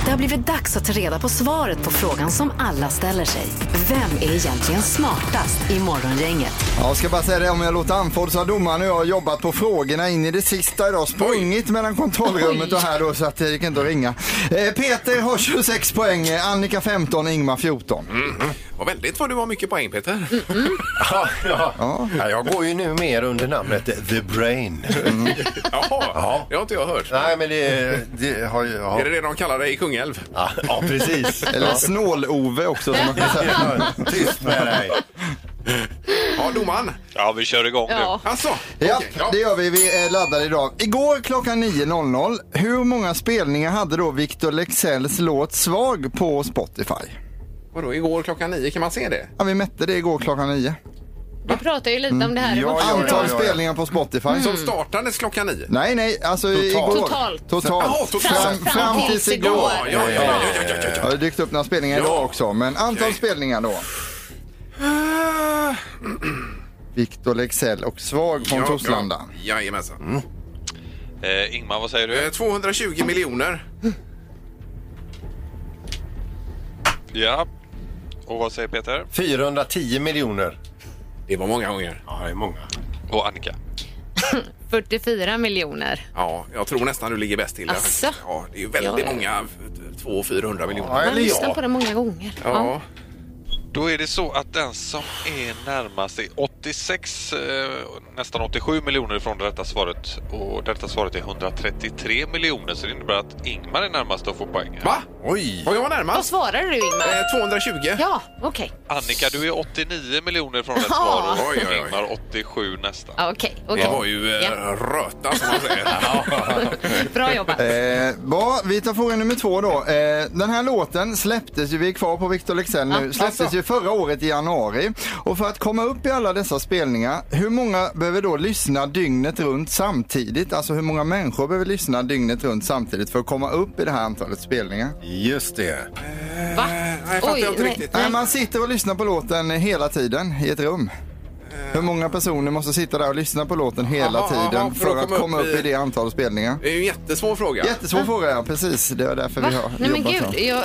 Speaker 2: Det har blivit dags att ta reda på svaret på frågan som alla ställer sig. Vem är egentligen smartast i morgongänget?
Speaker 6: Ja, jag ska bara säga det, om jag låter andfådd så har domaren och jag jobbat på frågorna in i det sista idag. Sprungit mellan kontrollrummet och här då så att eh, det kan inte att ringa. Eh, Peter har 26 poäng, eh, Annika 15, Ingmar 14.
Speaker 3: Och väldigt vad du har mycket poäng Peter.
Speaker 5: Ja, ja. Ja, jag går ju nu mer under namnet The Brain.
Speaker 3: Mm. Jaha, det har inte jag hört.
Speaker 5: Nej, men det, det har ju... Ja,
Speaker 3: Är det det de kallar dig i Kungälv?
Speaker 5: ja, ja precis.
Speaker 6: Eller Snål-Ove också som man kan säga.
Speaker 5: Ja, Tyst med dig.
Speaker 3: Ja, domaren.
Speaker 7: Ja, vi kör igång
Speaker 4: ja.
Speaker 3: Alltså,
Speaker 6: Ja,
Speaker 3: okej, ja.
Speaker 6: det gör vi. Vi är laddade idag. Igår klockan 9.00, hur många spelningar hade då Victor Leksells låt Svag på Spotify?
Speaker 3: Vadå, igår klockan nio, kan man se det?
Speaker 6: Ja, vi mätte det igår klockan 9.
Speaker 4: Vi pratar ju lite om det här i
Speaker 3: Mm,
Speaker 5: Ja,
Speaker 4: vårt
Speaker 5: ja,
Speaker 4: program.
Speaker 6: Antal spelningar på Spotify.
Speaker 3: Som startades klockan nio?
Speaker 6: Nej, nej, alltså totalt. igår.
Speaker 4: Totalt.
Speaker 6: Totalt.
Speaker 3: Jaha, totalt.
Speaker 6: Fram, fram tills igår.
Speaker 3: Ja, ja, ja, ja, ja, ja, ja.
Speaker 6: Ja, det har dykt upp några spelningar idag
Speaker 3: Ja.
Speaker 6: också, men antal
Speaker 3: Okej.
Speaker 6: spelningar då.
Speaker 3: Ah,
Speaker 6: Victor Leksell och Svag från
Speaker 3: ja,
Speaker 6: Torslanda.
Speaker 3: Ja, jajamensan.
Speaker 7: Mm. Eh, Ingmar, vad säger
Speaker 3: Eh,
Speaker 7: du?
Speaker 3: 220 miljoner.
Speaker 7: Ja. Och vad säger Peter?
Speaker 5: 410 miljoner.
Speaker 3: Det var många gånger.
Speaker 5: Ja, det är många.
Speaker 7: Och Annika?
Speaker 4: 44 miljoner.
Speaker 3: Ja, jag tror nästan du ligger bäst till. där.
Speaker 4: Asså?
Speaker 3: Ja, det är ju väldigt
Speaker 4: Ja, ja.
Speaker 3: många, 200-400 miljoner.
Speaker 5: Ja,
Speaker 4: Man
Speaker 5: eller
Speaker 4: lyssnar på
Speaker 5: jag.
Speaker 4: det många gånger.
Speaker 3: Ja.
Speaker 7: Då är det så att den som är närmast är 86, eh, nästan 87 miljoner ifrån det rätta svaret. Och det rätta svaret är 133 miljoner, så det innebär att Ingmar är närmast att få poäng. här.
Speaker 3: Va?
Speaker 5: Oj!
Speaker 3: Var jag
Speaker 4: Vad
Speaker 3: närmast?
Speaker 4: svarade du Ingmar?
Speaker 3: Eh, 220.
Speaker 4: Ja, okej.
Speaker 7: Annika, du är 89 miljoner från rätt
Speaker 4: Ja.
Speaker 7: svar och
Speaker 3: Oj, oj, oj.
Speaker 7: Ingmar 87 nästan.
Speaker 4: Ja, Okej, okej.
Speaker 3: Det var ju eh,
Speaker 4: Ja.
Speaker 3: röta som man säger.
Speaker 4: Bra jobbat.
Speaker 6: Eh, bra, vi tar fråga nummer två då. Eh, den här låten släpptes ju, vi är kvar på Victor Leksell nu, släpptes ju förra året i januari. Och för att komma upp i alla dessa spelningar, hur många behöver då lyssna dygnet runt samtidigt? Alltså hur många människor behöver lyssna dygnet runt samtidigt för att komma upp i det här antalet spelningar?
Speaker 5: Just det.
Speaker 4: Va?
Speaker 3: Eh, Nej, jag fattar inte
Speaker 4: nej,
Speaker 3: riktigt.
Speaker 6: Nej,
Speaker 4: nej.
Speaker 6: man sitter och lyssnar på låten hela tiden i ett rum. Hur många personer måste sitta där och lyssna på låten hela
Speaker 3: Eh. Aha, aha,
Speaker 6: tiden
Speaker 3: för
Speaker 6: för
Speaker 3: att
Speaker 6: att
Speaker 3: komma
Speaker 6: komma
Speaker 3: upp
Speaker 6: upp
Speaker 3: i-
Speaker 6: i det antal spelningar?
Speaker 3: Det är ju en jättesvår fråga.
Speaker 6: Jättesvår
Speaker 4: Mm.
Speaker 6: fråga, ja. Precis. Det är därför
Speaker 4: Va?
Speaker 6: vi har
Speaker 4: Nej men
Speaker 6: jobbat så.
Speaker 4: gud, jag, eh,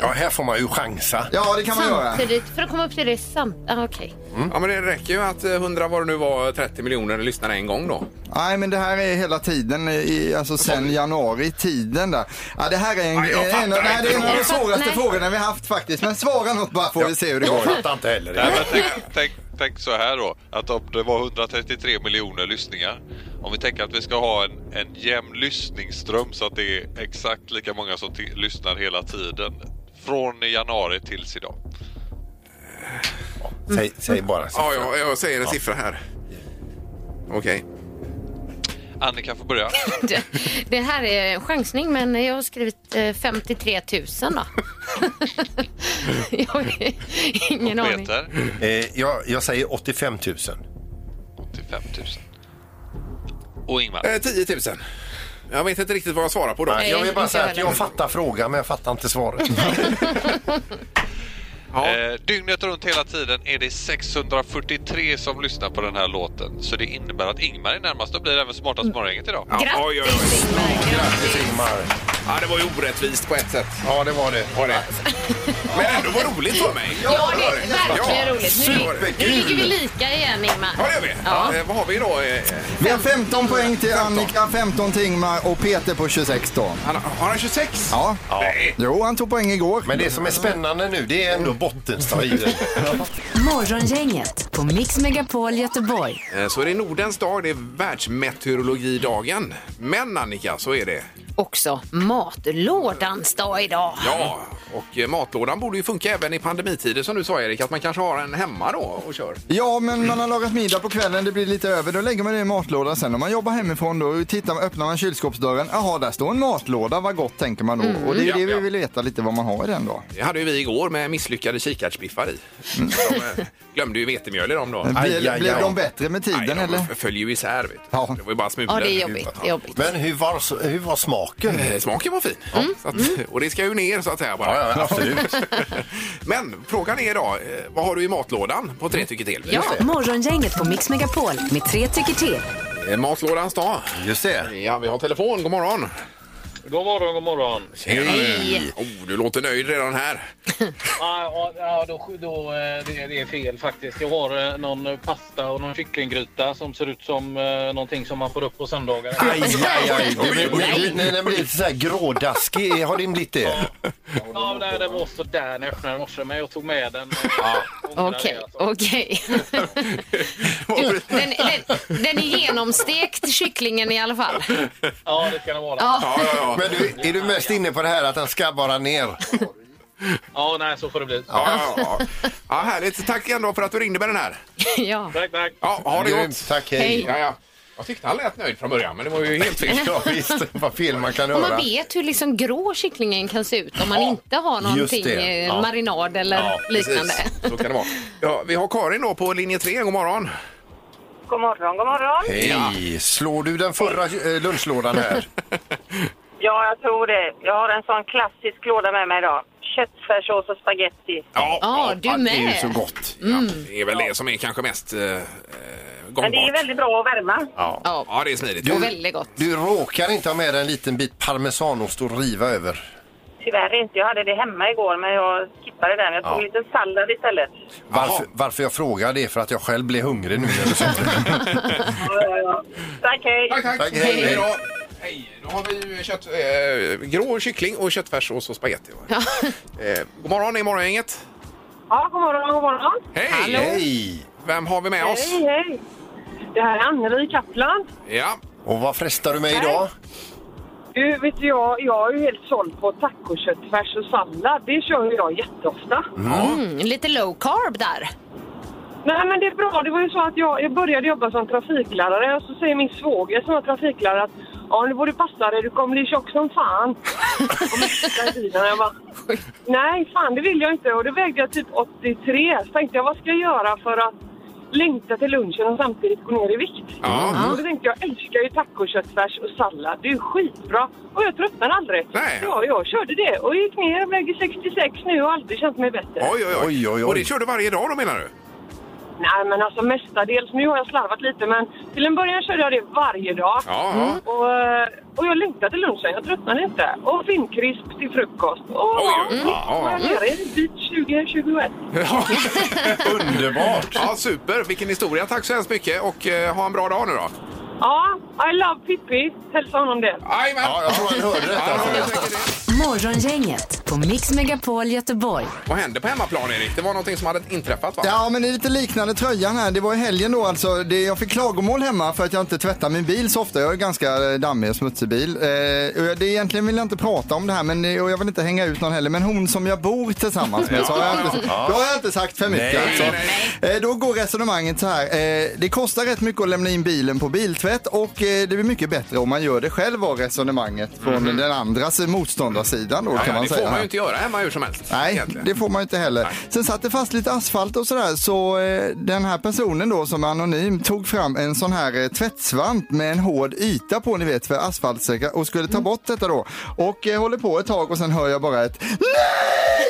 Speaker 5: Ja, här får man ju chansa.
Speaker 6: Ja, det kan man göra.
Speaker 4: samtidigt, för att komma upp till det samt... Ah, okej.
Speaker 3: Mm. Ja, men det räcker ju att eh, 100 vad det nu var, 30 miljoner lyssnare en gång då.
Speaker 6: Nej, men det här är hela tiden, i, alltså sen januari, tiden där. Ja, det här är en,
Speaker 3: Nej, jag fattar
Speaker 6: en, av- nej, det är en av de
Speaker 4: inte.
Speaker 6: svåraste
Speaker 4: Nej.
Speaker 6: frågorna vi har haft faktiskt. Men svara något bara får vi se hur det
Speaker 5: Jag
Speaker 6: går.
Speaker 5: fattar inte heller
Speaker 7: Nej,
Speaker 5: det.
Speaker 7: men tänk, tänk, tänk så här då, att om det var 133 miljoner lyssningar, om vi tänker att vi ska ha en, en jämn lyssningsström så att det är exakt lika många som ti- lyssnar hela tiden, från i januari tills idag.
Speaker 5: Säg, säg bara så.
Speaker 3: Ja, ja jag säger en siffra här. Okej.
Speaker 7: Annika får börja.
Speaker 4: Det, det här är en chansning, men jag har skrivit eh, 53 000 då. jag har ingen
Speaker 7: Och
Speaker 4: aning.
Speaker 7: Peter,
Speaker 5: Eh, jag, jag säger 85 000.
Speaker 7: 85 000. Och Ingmar.
Speaker 3: Eh, 10 000. Jag vet inte riktigt vad jag svarar på då.
Speaker 5: Nej, jag vill bara
Speaker 4: inte
Speaker 5: säga
Speaker 4: jag
Speaker 5: att jag
Speaker 4: heller.
Speaker 5: fattar frågan men jag fattar inte svaret.
Speaker 3: Ja.
Speaker 7: Eh, dygnet runt hela tiden är det 643 som lyssnar på den här låten. Så det innebär att Ingmar är närmast och blir även smartast i morgongänget idag.
Speaker 4: Grattis,
Speaker 3: oj, oj, oj.
Speaker 4: Ingmar.
Speaker 5: Grattis Ingmar!
Speaker 3: Ja, det var ju orättvist på ett sätt.
Speaker 5: Ja, det var det.
Speaker 3: Var det. Men ändå var roligt för mig.
Speaker 4: Ja, det är verkligen
Speaker 3: Ja,
Speaker 4: roligt. Nu, nu
Speaker 3: superkul.
Speaker 4: ligger vi lika igen, Ingmar.
Speaker 3: Ja, det gör vi.
Speaker 4: Ja.
Speaker 3: Eh, vad har vi då? Eh,
Speaker 6: Vi har 15 poäng till Annika, 15 till Ingmar och Peter på 26 då.
Speaker 3: han, har han 26?
Speaker 6: Ja.
Speaker 3: Nej.
Speaker 6: Jo, han tog poäng igår.
Speaker 5: Men det som är spännande nu, det är ändå bottenstriden.
Speaker 2: Morgongänget på Mix Megapol Göteborg.
Speaker 3: Eh, Så är det Nordens dag, det är världsmeteorologidagen. Men Annika, så är det.
Speaker 4: Också matlådans dag idag.
Speaker 3: Ja, och eh, matlådan borde ju funka även i pandemitider som du sa Erik, att man kanske har en hemma då och kör.
Speaker 6: Ja, men man har lagat middag på kvällen, det blir lite över. Då lägger man det i matlådan sen. Om man jobbar hemifrån då tittar, man- öppnar man kylskåpsdörren. Jaha, där står en matlåda. Vad gott, tänker man då.
Speaker 4: Mm.
Speaker 6: och det är ju
Speaker 3: Ja,
Speaker 6: det vi
Speaker 3: ja.
Speaker 6: vill veta lite vad man har i den då.
Speaker 3: Det hade ju vi igår med misslyckade kikärtsbiffar i.
Speaker 5: Mm.
Speaker 3: De eh, glömde ju vetemjöl i dem då.
Speaker 6: Blir,
Speaker 5: aj, aj.
Speaker 6: blir de bättre med
Speaker 3: Nej,
Speaker 6: tiden
Speaker 3: de
Speaker 6: eller?
Speaker 3: följer ju isär vet du.
Speaker 6: Ja.
Speaker 3: Det var ju bara smulor.
Speaker 4: Ja, det är jobbigt. Det är jobbigt.
Speaker 5: Men hur var, hur var smaken?
Speaker 3: Eh, Smaken var fin.
Speaker 4: Mm.
Speaker 3: Så att, och det ska ju ner så att säga bara.
Speaker 5: Ja, ja, absolut.
Speaker 3: Men frågan är idag, eh, vad har du i matlådan på
Speaker 5: Mm.
Speaker 3: tre tycker till?
Speaker 4: Ja.
Speaker 2: Morgongänget på Mix Megapol med tre tycker till.
Speaker 3: Eh, Matlådans dag.
Speaker 5: Just det.
Speaker 3: Ja, vi har telefon. God morgon.
Speaker 10: God morgon, god morgon.
Speaker 4: Hej.
Speaker 3: Oh, du låter nöjd redan här.
Speaker 10: Ja, ja, då, då, eh, det, det är fel faktiskt. Jag har eh, någon pasta och någon kycklinggryta som ser ut som eh, någonting som man får upp på söndagar.
Speaker 5: Aj, aj, aj.
Speaker 3: Oj, oj,
Speaker 5: Det
Speaker 3: oj.
Speaker 5: blir, när den blir lite så här grådaskig, har din blivit det?
Speaker 10: Ja, nej, den var så där när jag öppnade den i morse, men jag tog med den. eh, och ångrade
Speaker 4: Okej,
Speaker 10: det, alltså.
Speaker 4: okej. Den, den, den är genomstekt, kycklingen i alla fall.
Speaker 10: Ja, det ska den vara. Ja.
Speaker 4: Ja,
Speaker 3: Ja, ja, ja.
Speaker 5: Men du, är du mest inne på det här att den ska bara ner?
Speaker 10: nej, så får det bli.
Speaker 3: Ja, ja, ja. ja, härligt. Tack ändå för att du ringde med den här.
Speaker 4: ja.
Speaker 10: Tack, tack.
Speaker 3: Ja, ha det
Speaker 5: Grymt,
Speaker 3: gott.
Speaker 5: tack hej.
Speaker 4: Hej.
Speaker 3: Ja, ja. Jag tyckte han lät nöjd från början, men det var ju helt fel.
Speaker 5: Ja, visst, vad fel man kan
Speaker 4: Och man
Speaker 5: höra.
Speaker 4: vet hur liksom grå kycklingen kan se ut om man inte har någonting
Speaker 5: det.
Speaker 4: eh,
Speaker 5: Ja.
Speaker 4: marinad eller
Speaker 3: Ja,
Speaker 4: liknande.
Speaker 3: precis. Så kan det vara. Ja, vi har Karin då på linje 3. God morgon.
Speaker 8: God morgon, god morgon.
Speaker 5: Hej, slår du den förra eh, lunchlådan här?
Speaker 8: Ja, jag tror det. Jag har en sån klassisk låda med mig idag. Köttfärssås och spaghetti.
Speaker 3: Ja,
Speaker 4: Ja, du
Speaker 5: Det är ju så
Speaker 4: med. Mm.
Speaker 5: gott.
Speaker 3: ja, det är väl det som är kanske mest eh, eh, gångbart.
Speaker 8: Men det är väldigt bra att värma.
Speaker 4: Ja,
Speaker 3: Ja, det är smidigt.
Speaker 4: och väldigt gott.
Speaker 5: Du råkar inte ha med dig en liten bit parmesanost att riva över.
Speaker 8: Tyvärr inte. Jag hade det hemma igår, men jag skippade den. Jag tog en liten sallad istället.
Speaker 5: Varför, varför jag frågar det är för att jag själv blir hungrig nu. när du sa det.
Speaker 8: Ja, ja, ja. Tack, hej.
Speaker 3: Tack, tack.
Speaker 5: Tack, hej.
Speaker 3: hej. då. Hej, då har vi ju kött, eh, grå kyckling och köttfärssås och spagetti. va? Eh, god morgon, det är Morgongänget.
Speaker 8: Ja, god morgon, god morgon.
Speaker 3: Hej!
Speaker 5: Hej!
Speaker 3: Vem har vi med oss?
Speaker 8: Hej, hej. Det här är Anneli Kaplan.
Speaker 3: Ja,
Speaker 5: Och vad frestar du med idag?
Speaker 8: Du, vet du, jag, jag är ju helt såld på tacoköttfärs och sallad. Det kör ju jag jätteofta.
Speaker 4: Mm, lite low carb där.
Speaker 8: Nej, men det är bra. Det var ju så att jag, jag började jobba som trafiklärare och så säger min svåger som var trafiklärare att ja, nu borde du passa dig. Du kommer bli tjock som fan. Och jag sitter i bilen och jag bara, Nej, fan det vill jag inte. Och då vägde jag typ 83. Så tänkte jag, vad ska jag göra för att längta till lunchen och samtidigt gå ner i vikt?
Speaker 3: Ja.
Speaker 8: Och då tänkte jag, jag älskar ju tacoköttfärs och sallad. Det är ju skitbra. Och jag tröttnade aldrig.
Speaker 3: Nej.
Speaker 8: Ja, jag körde det och gick ner och väger 66 nu och aldrig känt mig bättre.
Speaker 3: oj, oj, oj.
Speaker 5: Oj, oj, oj.
Speaker 3: Och det kör du varje dag då menar du?
Speaker 8: Nej, men alltså mestadels. Nu har jag slarvat lite, men till en början körde jag det varje dag.
Speaker 3: Ja.
Speaker 8: Och, eh, och jag längtade till lunchen, jag tröttnade inte. Och finkrisp till frukost. Och
Speaker 3: Oj,
Speaker 8: ja,
Speaker 3: oj, oj.
Speaker 8: var jag nere i en bit 2021.
Speaker 3: Ja.
Speaker 5: Underbart!
Speaker 3: ja, super. Vilken historia. Tack så hemskt mycket och eh, ha en bra dag nu då.
Speaker 8: Ja, I love Pippi. Hälsa honom det.
Speaker 3: Jajamän.
Speaker 5: Ja, jag tror han hörde
Speaker 3: Ja,
Speaker 5: detta.
Speaker 3: det var säkert det.
Speaker 2: Morgongänget på Mix Megapol Göteborg.
Speaker 3: Vad hände på hemmaplan, Erik? Det var någonting som hade inträffat, va?
Speaker 6: Ja, men det är lite liknande tröjan här. Det var i helgen då alltså. Det, jag fick klagomål hemma för att jag inte tvättar min bil så ofta. Jag är ganska eh, dammig och smutsig bil. Eh, och jag, det, egentligen vill jag inte prata om det här men, eh, och jag vill inte hänga ut någon heller. Men hon som jag bor tillsammans med, så har jag inte, då har jag inte sagt för mycket.
Speaker 5: Nej,
Speaker 6: alltså.
Speaker 3: nej,
Speaker 6: Eh, då går resonemanget så här. Eh, det kostar rätt mycket att lämna in bilen på biltvätt och eh, det blir mycket bättre om man gör det själv var resonemanget från den andras motståndares baksidan då
Speaker 3: Mhm. Ja,
Speaker 6: kan
Speaker 3: ja,
Speaker 6: man
Speaker 3: det
Speaker 6: säga.
Speaker 3: får man ju inte göra hemma hur som helst.
Speaker 6: Nej,
Speaker 3: egentligen.
Speaker 6: det får man ju inte heller.
Speaker 3: Nej.
Speaker 6: Sen satt det fast lite asfalt och sådär så eh, den här personen då som är anonym tog fram en sån här eh, tvättsvamp med en hård yta på ni vet för asfaltsäkra och skulle ta bort detta då. Och eh, håller på ett tag och sen hör jag bara ett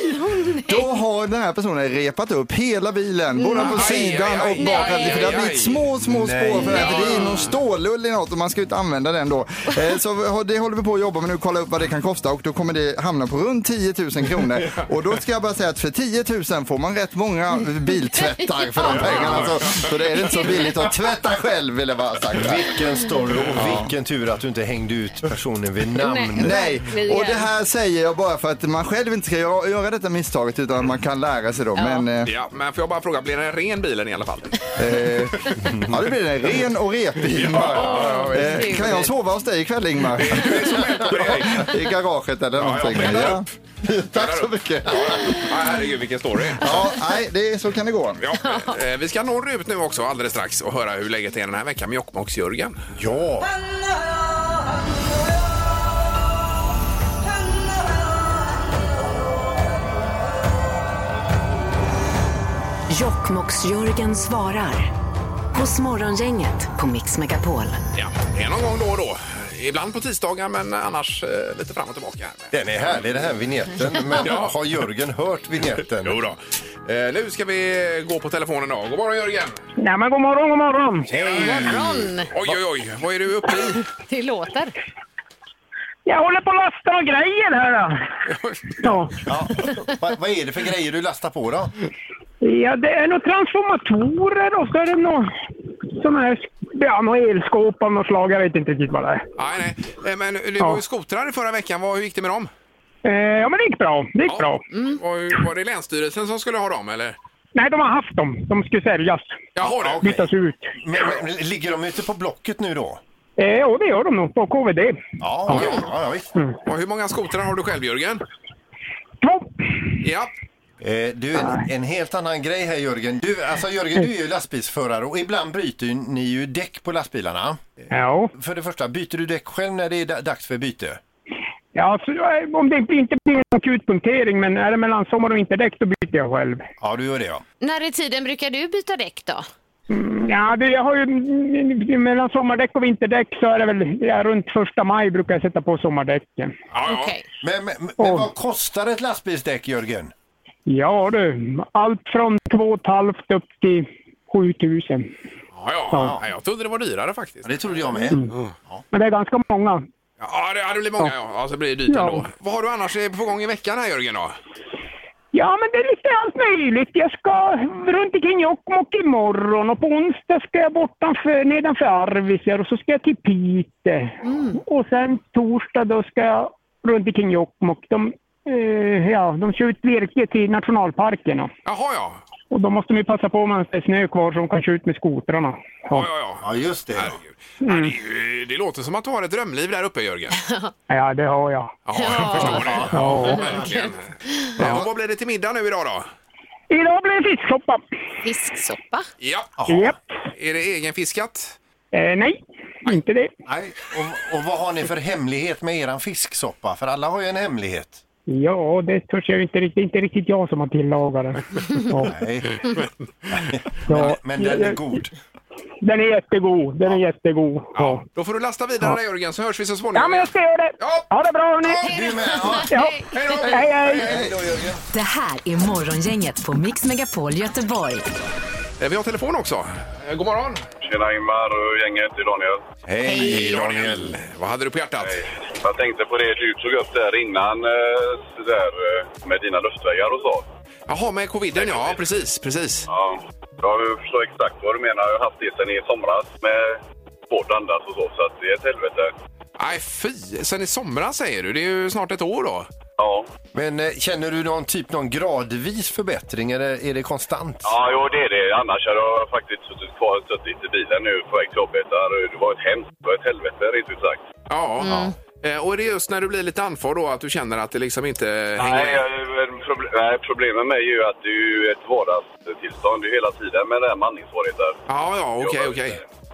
Speaker 6: NEJ! Då har den här personen repat upp hela bilen, både på
Speaker 3: Aj,
Speaker 6: sidan
Speaker 3: aj,
Speaker 6: och bak.
Speaker 3: aj,
Speaker 6: För det har
Speaker 3: aj, aj.
Speaker 6: blivit små, små spår
Speaker 5: Nej.
Speaker 6: för det här. för Det är någon stålull i något och man ska ju inte använda den då. Eh, Så har- det håller vi på att jobba med nu, kolla upp vad det kan kosta och då kommer det hamna på runt 10 000 kronor. Och då ska jag bara säga att för 10 000 får man rätt många biltvättar för de pengarna. Så, så det är inte så billigt att tvätta själv vill jag bara ha sagt.
Speaker 5: Vilken story och vilken tur att du inte hängde ut personen vid namn.
Speaker 6: Nej,
Speaker 4: verkligen.
Speaker 6: och det här säger jag bara för att man själv inte ska göra, göra detta misstaget utan att man kan lära sig då. Men, eh,
Speaker 3: Ja, men får jag bara fråga, blir den ren bilen i alla fall?
Speaker 6: Eh, ja, det blir det. Ren och repig, Ingmar. eh, kan jag sova hos dig ikväll, Ingmar? I garaget eller någonting.
Speaker 3: ja, vänta
Speaker 6: Ja, Tack så mycket.
Speaker 3: Ja, herregud, vilken story.
Speaker 6: Ja, nej, det är, så kan det gå.
Speaker 3: Ja, eh, vi ska norrut nu också alldeles strax och höra hur läget är den här veckan med Jokkmokks-Jörgen.
Speaker 5: Ja,
Speaker 2: Jokkmokks-Jörgen svarar. Hos Morgongänget på Mix Megapol.
Speaker 3: Ja, det är någon gång då och då. Ibland på tisdagar, men annars eh, lite fram och tillbaka. Här.
Speaker 5: den är härlig den här vignetten. Men
Speaker 3: Ja.
Speaker 5: har Jörgen hört vignetten?
Speaker 3: Jo då. Eh, nu ska vi gå på telefonen då. God morgon Jörgen!
Speaker 9: Nej, men god morgon, god morgon.
Speaker 4: Morgon!
Speaker 3: Oj, oj, oj, vad är du uppe i?
Speaker 4: Det låter.
Speaker 9: Jag håller på och lastar och grejer här. Då. Ja.
Speaker 5: Ja. Va, vad är det för grejer du lastar på då?
Speaker 9: ja, det är nog transformatorer och så är det nog sån här, ja, någon elskåp av något slag. Jag vet inte riktigt vad det är.
Speaker 3: nej, nej. Eh, Men du var ju skotrar i förra veckan. Vad, hur gick det med dem?
Speaker 9: Eh, ja, men det gick bra. Det gick bra.
Speaker 4: Mm.
Speaker 3: Var, var det Länsstyrelsen som skulle ha dem eller?
Speaker 9: Nej, de har haft dem. De skulle säljas,
Speaker 3: Jaha, det.
Speaker 9: bytas ut.
Speaker 5: Men, men, ligger de ute på Blocket nu då?
Speaker 9: Eh, ja, det gör de nog på KVD.
Speaker 5: Ja, ja, ja visst.
Speaker 9: Mm.
Speaker 3: Och hur många skotrar har du själv Jörgen?
Speaker 9: Två.
Speaker 3: Ja.
Speaker 5: Eh, du, en, en helt annan grej här Jörgen. Du, alltså Jörgen, du är ju lastbilsförare och ibland byter ju ni ju däck på lastbilarna.
Speaker 9: Ja.
Speaker 5: För det första, byter du däck själv när det är da- dags för byte?
Speaker 9: Ja, så, eh, om det blir- inte blir någon akutpunktering, men är det mellan sommar och vinterdäck då byter jag själv.
Speaker 5: Ja, du gör det ja.
Speaker 4: När i tiden brukar du byta däck då?
Speaker 9: Ja, det, jag har ju mm, mellan sommardäck och vinterdäck så är det väl ja, runt första maj brukar jag sätta på sommardäcken.
Speaker 3: ja, ja.
Speaker 4: Okej.
Speaker 5: Men, men, men
Speaker 9: Åh.
Speaker 5: vad kostar ett lastbilsdäck Jörgen?
Speaker 9: Ja du, allt från två och ett halvt upp till 7000.
Speaker 3: Ja, ja. ja, jag trodde det var dyrare faktiskt.
Speaker 5: Ja, det trodde jag med.
Speaker 9: Men det är ganska många.
Speaker 3: Ja, det, ja, det blir många ja. ja så blir det dyrt
Speaker 9: Mm. Ja.
Speaker 3: ändå. Vad har du annars på gång i veckan här Jörgen då?
Speaker 9: Ja, men det är lite allt möjligt. Jag ska runt omkring Jokkmokk imorgon och på onsdag ska jag bortanför, nedanför Arvidsjaur och så ska jag till Piteå. Och sen torsdag då ska jag runt omkring Jokkmokk. De, eh, ja, de kör ut virke till nationalparken. Och,
Speaker 3: Jaha, ja.
Speaker 9: och då måste man ju passa på medan det är snö kvar så de kan köra ut med skotrarna.
Speaker 3: Ja,
Speaker 9: Ja.
Speaker 3: ja, ja.
Speaker 5: Ja, just det. ja.
Speaker 3: Herregud. Ja, det, är ju- det låter som att du har ett drömliv där uppe Jörgen.
Speaker 9: ja, det har jag.
Speaker 3: Ja, jag förstår det. Ja, verkligen. Ja, och vad blir det till middag nu idag då?
Speaker 9: Idag blir det fisksoppa.
Speaker 4: Fisksoppa.
Speaker 3: Ja.
Speaker 9: Japp.
Speaker 3: Är det egenfiskat?
Speaker 9: Eh, nej, inte det.
Speaker 5: Nej. Och, och vad har ni för hemlighet med eran fisksoppa? För alla har ju en hemlighet.
Speaker 9: Ja, det törs jag ju inte riktigt. inte riktigt jag som har tillagat den. Ja.
Speaker 5: Nej.
Speaker 9: Ja.
Speaker 5: Men den är
Speaker 9: Jag-
Speaker 5: god.
Speaker 9: Den är jättegod. Den är jättegod. Ja.
Speaker 3: Då får du lasta vidare där Jörgen så hörs vi så småningom.
Speaker 9: ja, men jag ska göra det.
Speaker 3: Ja.
Speaker 9: Ha det bra, hörni.
Speaker 5: Du med? Ja.
Speaker 9: Ja.
Speaker 3: Hej då!
Speaker 9: Hej, hej.
Speaker 5: Hej då Jörgen.
Speaker 2: Det här är Morgongänget på Mix Megapol Göteborg.
Speaker 3: Eh, Vi har telefon också. Eh, God morgon!
Speaker 1: Tjena Ingmar och gänget, det är Daniel.
Speaker 5: Hej Daniel.
Speaker 3: Vad hade du på hjärtat?
Speaker 1: Jag tänkte på det du tog upp där innan eh, så där, eh, med dina luftvägar och så.
Speaker 3: Jaha, med coviden ja. Precis, precis.
Speaker 1: Ja, jag förstår exakt vad du menar. Jag har haft det sen i somras med svårt att andas och så, så att det är ett helvete.
Speaker 3: Nej, fy! Sen i somras säger du. Det är ju snart ett år då.
Speaker 1: Ja,
Speaker 5: Men eh, känner du någon typ någon gradvis förbättring eller är det konstant?
Speaker 1: ja jo, det är det. Annars hade jag faktiskt suttit kvar suttit i bilen nu på väg till jobbet. Där. Det var ett hemskt, det var ett helvete rent ut sagt.
Speaker 3: Ja. Eh, Och är det just när du blir lite andfådd då att du känner att det liksom inte hänger
Speaker 1: Nej,
Speaker 3: med?
Speaker 1: jag- men proble- nej, problemet med mig är ju att det är ju ett vardagstillstånd. Det är hela tiden med det här med andningssvårigheter.
Speaker 3: Ja, ja, okej, okej.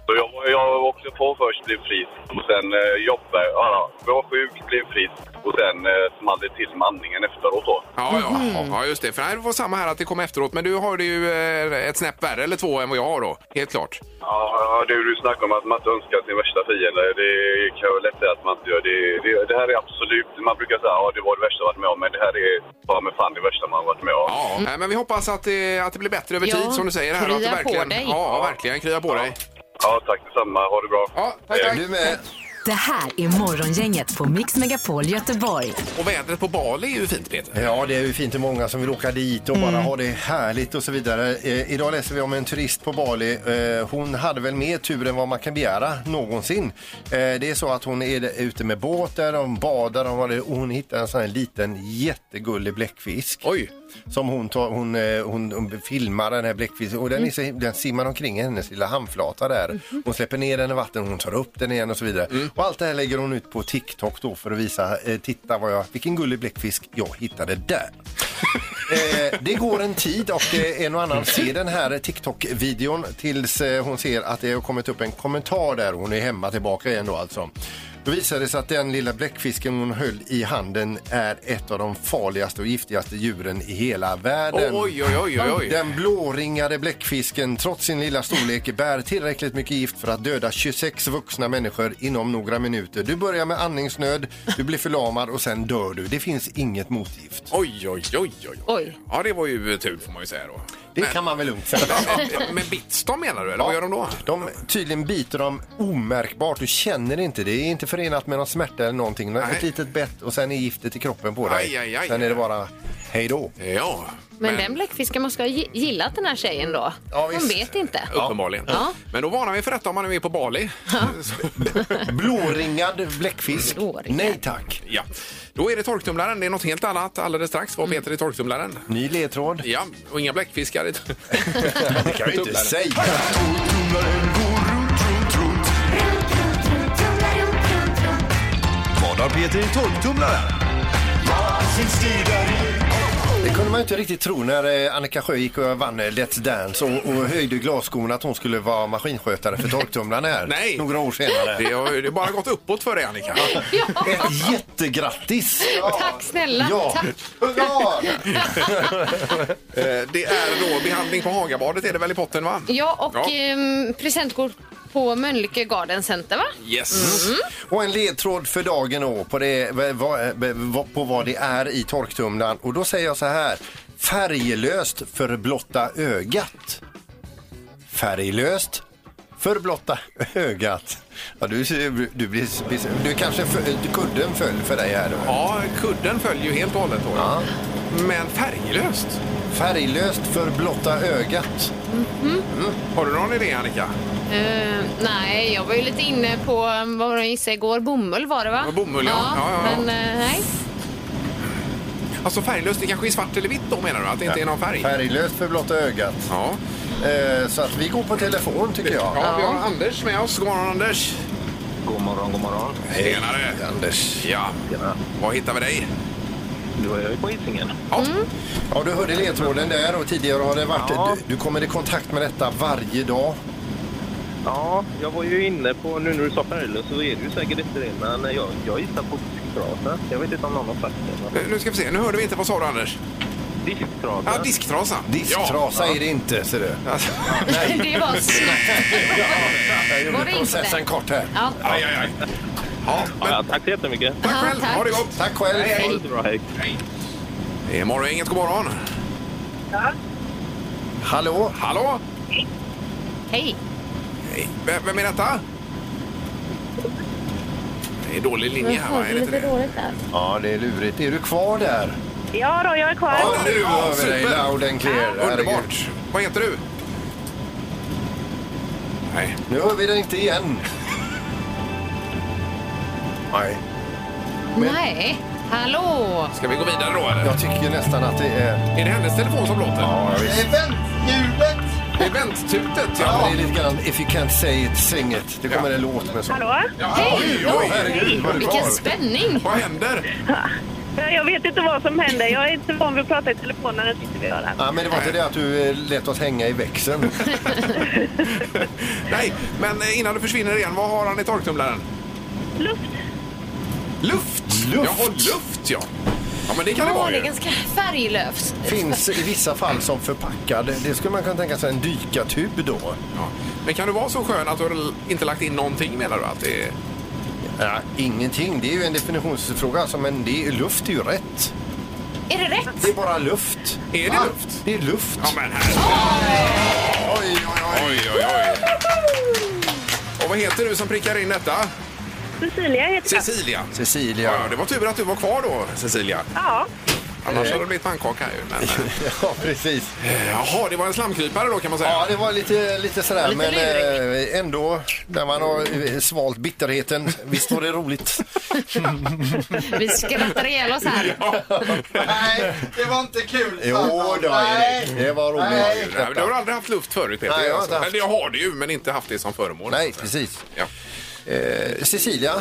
Speaker 1: Så jag, jag var också på först, blev frisk och sen eh, jobbade ja, jag. var sjuk, blev frisk och sen eh, small det till med andningen efteråt. Då.
Speaker 3: Ja, ja. ja, just det. För det här var samma här att det kom efteråt. Men du har ju eh, ett snäpp värre eller två än vad jag har då. Helt klart.
Speaker 1: Ja, ja, du, du snackar om att man inte önskar sin värsta fiende. Det kan jag väl lätt säga att man inte gör. Det, det, det här är absolut... Man brukar säga att ja, det var det värsta jag varit med om, men det här är ta mig fan det värsta man varit med om.
Speaker 3: Ja, nej, Eh, men vi hoppas att det, att det blir bättre över
Speaker 4: Ja,
Speaker 3: tid som du säger. Här, och att det
Speaker 4: krya på
Speaker 3: verkligen,
Speaker 4: dig.
Speaker 3: Ja, verkligen. Krya på dig.
Speaker 1: Ja, tack detsamma. Ha det bra. Eh,
Speaker 3: Ja, tack, tack.
Speaker 5: Du med.
Speaker 2: Det här är Morgongänget på Mix Megapol Göteborg.
Speaker 3: Och vädret på Bali är ju fint, Peter.
Speaker 5: Ja, det är ju fint hur många som vill åka dit och bara ha det härligt och så vidare. Eh, idag läser vi om en turist på Bali. Eh, hon hade väl mer tur än vad man kan begära någonsin. Eh, det är så att hon är ute med båtar, hon badar hon har det- och hon hittar en sån här liten jättegullig bläckfisk.
Speaker 3: Oj!
Speaker 5: Som hon, tar, hon, eh, hon, hon filmar den här bläckfisken och den, är så, den simmar omkring i hennes lilla hamnflata där. Hon släpper ner den i vatten, hon tar upp den igen och så vidare. Och allt det här lägger hon ut på TikTok då för att visa, eh, titta vad jag, vilken gullig bläckfisk jag hittade där. eh, det går en tid och eh, en och annan ser den här TikTok-videon tills eh, hon ser att det har kommit upp en kommentar där. Hon är hemma tillbaka igen då alltså. Då visade det sig att den lilla bläckfisken hon höll i handen är ett av de farligaste och giftigaste djuren i hela världen.
Speaker 3: Oj, oj, oj, oj, oj.
Speaker 5: Den blåringade bläckfisken, trots sin lilla storlek, bär tillräckligt mycket gift för att döda 26 vuxna människor inom några minuter. Du börjar med andningsnöd, du blir förlamad och sen dör du. Det finns inget motgift.
Speaker 3: Oj, oj, oj, oj.
Speaker 4: Oj.
Speaker 3: Ja, det var ju tur får man ju säga då.
Speaker 5: Det kan man väl lugnt säga.
Speaker 3: Men, men bits de menar du, eller vad gör de då?
Speaker 5: De tydligen biter dem omärkbart. Du känner inte. Det är inte förenat med någon smärta eller någonting.
Speaker 3: Nej.
Speaker 5: Ett litet bett och sen är giftet i kroppen på dig.
Speaker 3: Aj, aj, aj.
Speaker 5: sen är det bara hej då.
Speaker 3: Ja,
Speaker 4: Men, den bläckfisken måste ha gi- gillat den här tjejen då.
Speaker 5: Ja,
Speaker 4: Hon
Speaker 5: visst.
Speaker 4: vet inte.
Speaker 3: uppenbarligen.
Speaker 4: Ja.
Speaker 3: Men då varnar vi för detta om man nu är på Bali.
Speaker 5: Blåringad bläckfisk.
Speaker 4: Blåringad.
Speaker 5: Nej tack.
Speaker 3: Ja. Då är det torktumlaren. Det är något helt annat alldeles strax.
Speaker 4: Mm.
Speaker 3: Vad Peter i torktumlaren?
Speaker 5: Ny ledtråd.
Speaker 3: Ja, och inga bläckfiskar. i-
Speaker 5: Det kan vi inte säga.
Speaker 11: Vad har Peter i torktumlaren?
Speaker 5: Det kunde man ju inte riktigt tro när eh, Annika Sjö gick och vann eh, Let's Dance och, och höjde glasskorna att hon skulle vara maskinskötare för torktumlaren här.
Speaker 3: Nej.
Speaker 5: Några år senare.
Speaker 3: Det har ju det har bara gått uppått för dig, Annika.
Speaker 5: Ett jättegrattis!
Speaker 4: Tack snälla.
Speaker 5: Ja.
Speaker 4: Tack.
Speaker 5: Hurra!
Speaker 3: Eh, Det är då behandling på Hagabadet är det väl i potten, va?
Speaker 4: Ja, och
Speaker 3: Ja.
Speaker 4: ehm, presentkort på Mölnlycke Garden Center, va?
Speaker 3: Yes.
Speaker 5: Mm. Och en ledtråd för dagen då på, det, vad- vad- på vad det är i torktumlaren. Och då säger jag så här. Färglöst för blotta ögat. Färglöst för blotta ögat. Ja, du, ser- du, blir, du kanske fö- kudden föll för dig här. Då.
Speaker 3: Ja, kudden följer ju helt och hållet. Då. Men färglöst.
Speaker 5: Färglöst för blotta ögat.
Speaker 3: Mm. Har du någon idé, Annika?
Speaker 4: Ehm, nej, jag var ju lite inne på ehm, vad var det jag gissade igår. Bomull var det, va?
Speaker 3: Ja, bomull, ja. Ja, ja, ja.
Speaker 4: Men eh, nej.
Speaker 3: Alltså färglöst, det kanske är svart eller vitt då menar du? Att det inte är någon färg?
Speaker 5: Färglöst för blotta ögat.
Speaker 3: Ja.
Speaker 5: Eh, så att vi går på telefon tycker jag.
Speaker 3: ja, vi har Anders med oss. God morgon Anders!
Speaker 1: God morgon, god morgon.
Speaker 3: Tjenare!
Speaker 5: Anders.
Speaker 3: Ja,
Speaker 1: Tjena.
Speaker 3: var hittar vi dig? Eh,
Speaker 1: Då är jag ju på Hisingen.
Speaker 3: Ja,
Speaker 5: Ja, du hörde ledtråden där och tidigare har det varit...
Speaker 1: Ja.
Speaker 5: Du, du kommer i kontakt med detta varje dag.
Speaker 1: Ja, jag var ju inne på, nu när du sa färglöst så är det ju säkert inte det, men jag, jag gissar på disktrasa. Jag vet inte om någon har sagt det. men-
Speaker 3: Nu ska vi se, nu hörde vi inte. Vad sa du Anders?
Speaker 1: Disktrasa.
Speaker 3: Ja, disktrasa.
Speaker 5: Disktrasa är det inte, ser du.
Speaker 3: Ja.
Speaker 4: Det var snabbt.
Speaker 5: Jag gjorde
Speaker 4: Var det inte?
Speaker 5: processen kort här.
Speaker 4: Ja.
Speaker 3: Aj, aj, aj. Ja, men
Speaker 1: ja, tack så jättemycket.
Speaker 3: tack
Speaker 4: Ja,
Speaker 3: själv.
Speaker 4: tack.
Speaker 3: Ha det gott.
Speaker 5: Tack själv.
Speaker 1: Ha det så bra, hej.
Speaker 3: Det är morgon, inget god morgon.
Speaker 5: Hallå?
Speaker 3: Hallå?
Speaker 4: Hej.
Speaker 3: Hej. V- Vem är detta? Det är dålig linje här, va? Är det inte det?
Speaker 5: Ja, det är lurigt. Är du kvar där?
Speaker 8: Ja, då, jag är kvar.
Speaker 3: Ja,
Speaker 5: nu
Speaker 3: nu
Speaker 5: hör vi
Speaker 3: super.
Speaker 5: dig loud and clear. Herregud.
Speaker 3: Underbart. Vad heter du? Nej.
Speaker 5: Nu hör vi dig inte igen. Nej.
Speaker 4: Nej. Hallå.
Speaker 3: Ska vi gå vidare då eller?
Speaker 5: Jag tycker nästan att det är...
Speaker 3: Är det hennes telefon som låter?
Speaker 5: Ja, Eventhjulet!
Speaker 3: Eventtutet,
Speaker 5: Ja,
Speaker 3: ja.
Speaker 5: men det är lite grann if you can't say it, sing it. Det kommer en låt med så.
Speaker 8: Hallå?
Speaker 3: ja. Oj, oj,
Speaker 5: Herregud, vad du
Speaker 4: Vilken
Speaker 5: har.
Speaker 4: spänning.
Speaker 3: Vad händer?
Speaker 8: Ja, Jag vet inte vad som händer. Jag är inte van vid att prata i telefon när den sitter vid örat.
Speaker 5: Ja, men det var inte det att du eh, lät oss hänga i växeln.
Speaker 3: Nej, men eh, innan du försvinner igen, vad har han i torktumlaren?
Speaker 8: Luft.
Speaker 3: Luft!
Speaker 5: Luft.
Speaker 3: Jaha, luft ja. Ja, men det kan det
Speaker 4: Ja,
Speaker 3: vara
Speaker 4: det är
Speaker 3: ju.
Speaker 4: ganska färglöst.
Speaker 5: Finns i vissa fall som förpackad. Det skulle man kunna tänka sig en dykartub då.
Speaker 3: Ja. Men kan du vara så skön att du har l- inte lagt in någonting menar du? Att det är...
Speaker 5: Ja, ingenting. Det är ju en definitionsfråga. Alltså, men det är, luft är ju rätt.
Speaker 4: Är det rätt?
Speaker 5: Det är bara luft.
Speaker 3: Är det
Speaker 5: Va?
Speaker 3: luft?
Speaker 5: Det är luft.
Speaker 3: Ja, men här.
Speaker 5: Oj, oj, oj.
Speaker 3: Oj, oj, oj. Och vad heter du som prickar in detta?
Speaker 8: Cecilia heter jag.
Speaker 3: Cecilia.
Speaker 5: Cecilia.
Speaker 3: Ja, det var tur att du var kvar då, Cecilia.
Speaker 8: Ja.
Speaker 3: Annars hade det blivit pannkaka här ju. Men, eh,
Speaker 5: Ja, precis.
Speaker 3: jaha, det var en slamkrypare då kan man säga.
Speaker 5: Ja, det var lite, lite sådär,
Speaker 4: Lite
Speaker 5: men eh, ändå när man har eh, svalt bitterheten. Visst var det roligt?
Speaker 4: Vi skrattar ihjäl oss här.
Speaker 6: Nej, det var inte kul.
Speaker 5: Jo då, Erik. Det var
Speaker 6: Nej.
Speaker 5: roligt.
Speaker 3: Nej, men du har aldrig haft luft förut Peter?
Speaker 5: Nej, jag har inte haft.
Speaker 3: Eller jag har det ju, men inte haft det som föremål.
Speaker 5: Nej, precis.
Speaker 3: Ja.
Speaker 5: Eh, Cecilia,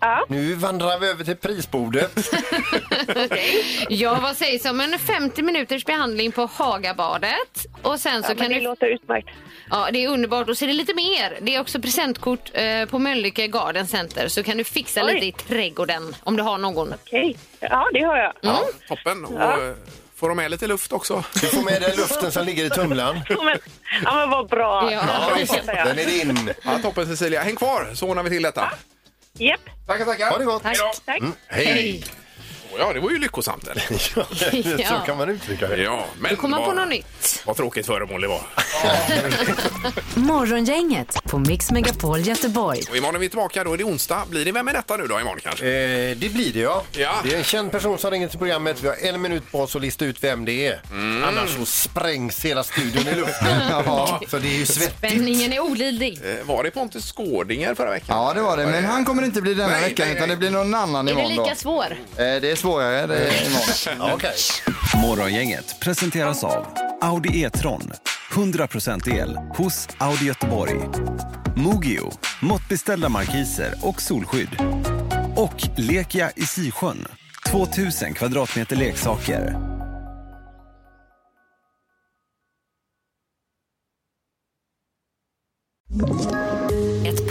Speaker 8: Ja.
Speaker 5: nu vandrar vi över till prisbordet.
Speaker 4: Ja, vad sägs om en 50 minuters behandling på Hagabadet? Och sen så
Speaker 8: ja
Speaker 4: kan
Speaker 8: men det
Speaker 4: du...
Speaker 8: låter utmärkt.
Speaker 4: Ja, det är underbart. Och så är det lite mer. Det är också presentkort eh, på Mölnlycke Garden Center. Så kan du fixa
Speaker 8: Oj.
Speaker 4: lite i trädgården om du har någon.
Speaker 8: Okej. Ja, det har jag. Mm.
Speaker 3: Ja, toppen. Och, eh, Får de med lite luft också?
Speaker 5: Du får med dig luften som ligger i tumlaren.
Speaker 8: Ja, men, ja, men vad bra.
Speaker 4: Ja.
Speaker 5: Ja,
Speaker 8: Bra,
Speaker 5: visst.
Speaker 8: fattar jag.
Speaker 5: Den är din.
Speaker 3: Ja, toppen Cecilia. Häng kvar så ordnar vi till detta.
Speaker 8: Japp,
Speaker 3: Tackar, tackar. Mm,
Speaker 5: Ha det gott.
Speaker 4: Tack.
Speaker 8: tack.
Speaker 5: Mm, Hej.
Speaker 3: Ja, det var ju lyckosamt. Eller?
Speaker 5: Så kan man uttrycka det.
Speaker 3: Ja, men
Speaker 4: Du kommer
Speaker 3: vad,
Speaker 4: på något nytt.
Speaker 3: Vad tråkigt föremål det var.
Speaker 2: Morgongänget på Mix Megapol Göteborg.
Speaker 3: Och imorgon är vi tillbaka. Då är det onsdag. Blir det Vem är detta nu då imorgon kanske?
Speaker 5: Eh, det blir det ja.
Speaker 3: Ja.
Speaker 5: Det är en känd person som ringer till programmet. Vi har en minut på oss att lista ut vem det är.
Speaker 3: Mm.
Speaker 5: Annars så sprängs hela studion i luften. ja. Så det är ju svettigt.
Speaker 4: Spänningen är olidlig.
Speaker 3: Eh, Var det Pontus Skådinger förra veckan?
Speaker 6: Ja, det var det. Men han kommer inte bli denna
Speaker 3: Nej,
Speaker 6: veckan
Speaker 3: nej,
Speaker 6: utan
Speaker 3: nej.
Speaker 6: det blir någon annan
Speaker 4: Är det
Speaker 6: imorgon då.
Speaker 4: lika svår?
Speaker 6: Eh, Det är svårare det är imorgon.
Speaker 5: Ja, Okej.
Speaker 11: Morgongänget presenteras av Audi E-tron. 100% el hos Audi Göteborg. Mogio. Måttbeställda markiser och solskydd. Och Lekia i Sisjön. 2000 kvadratmeter leksaker.
Speaker 2: Ett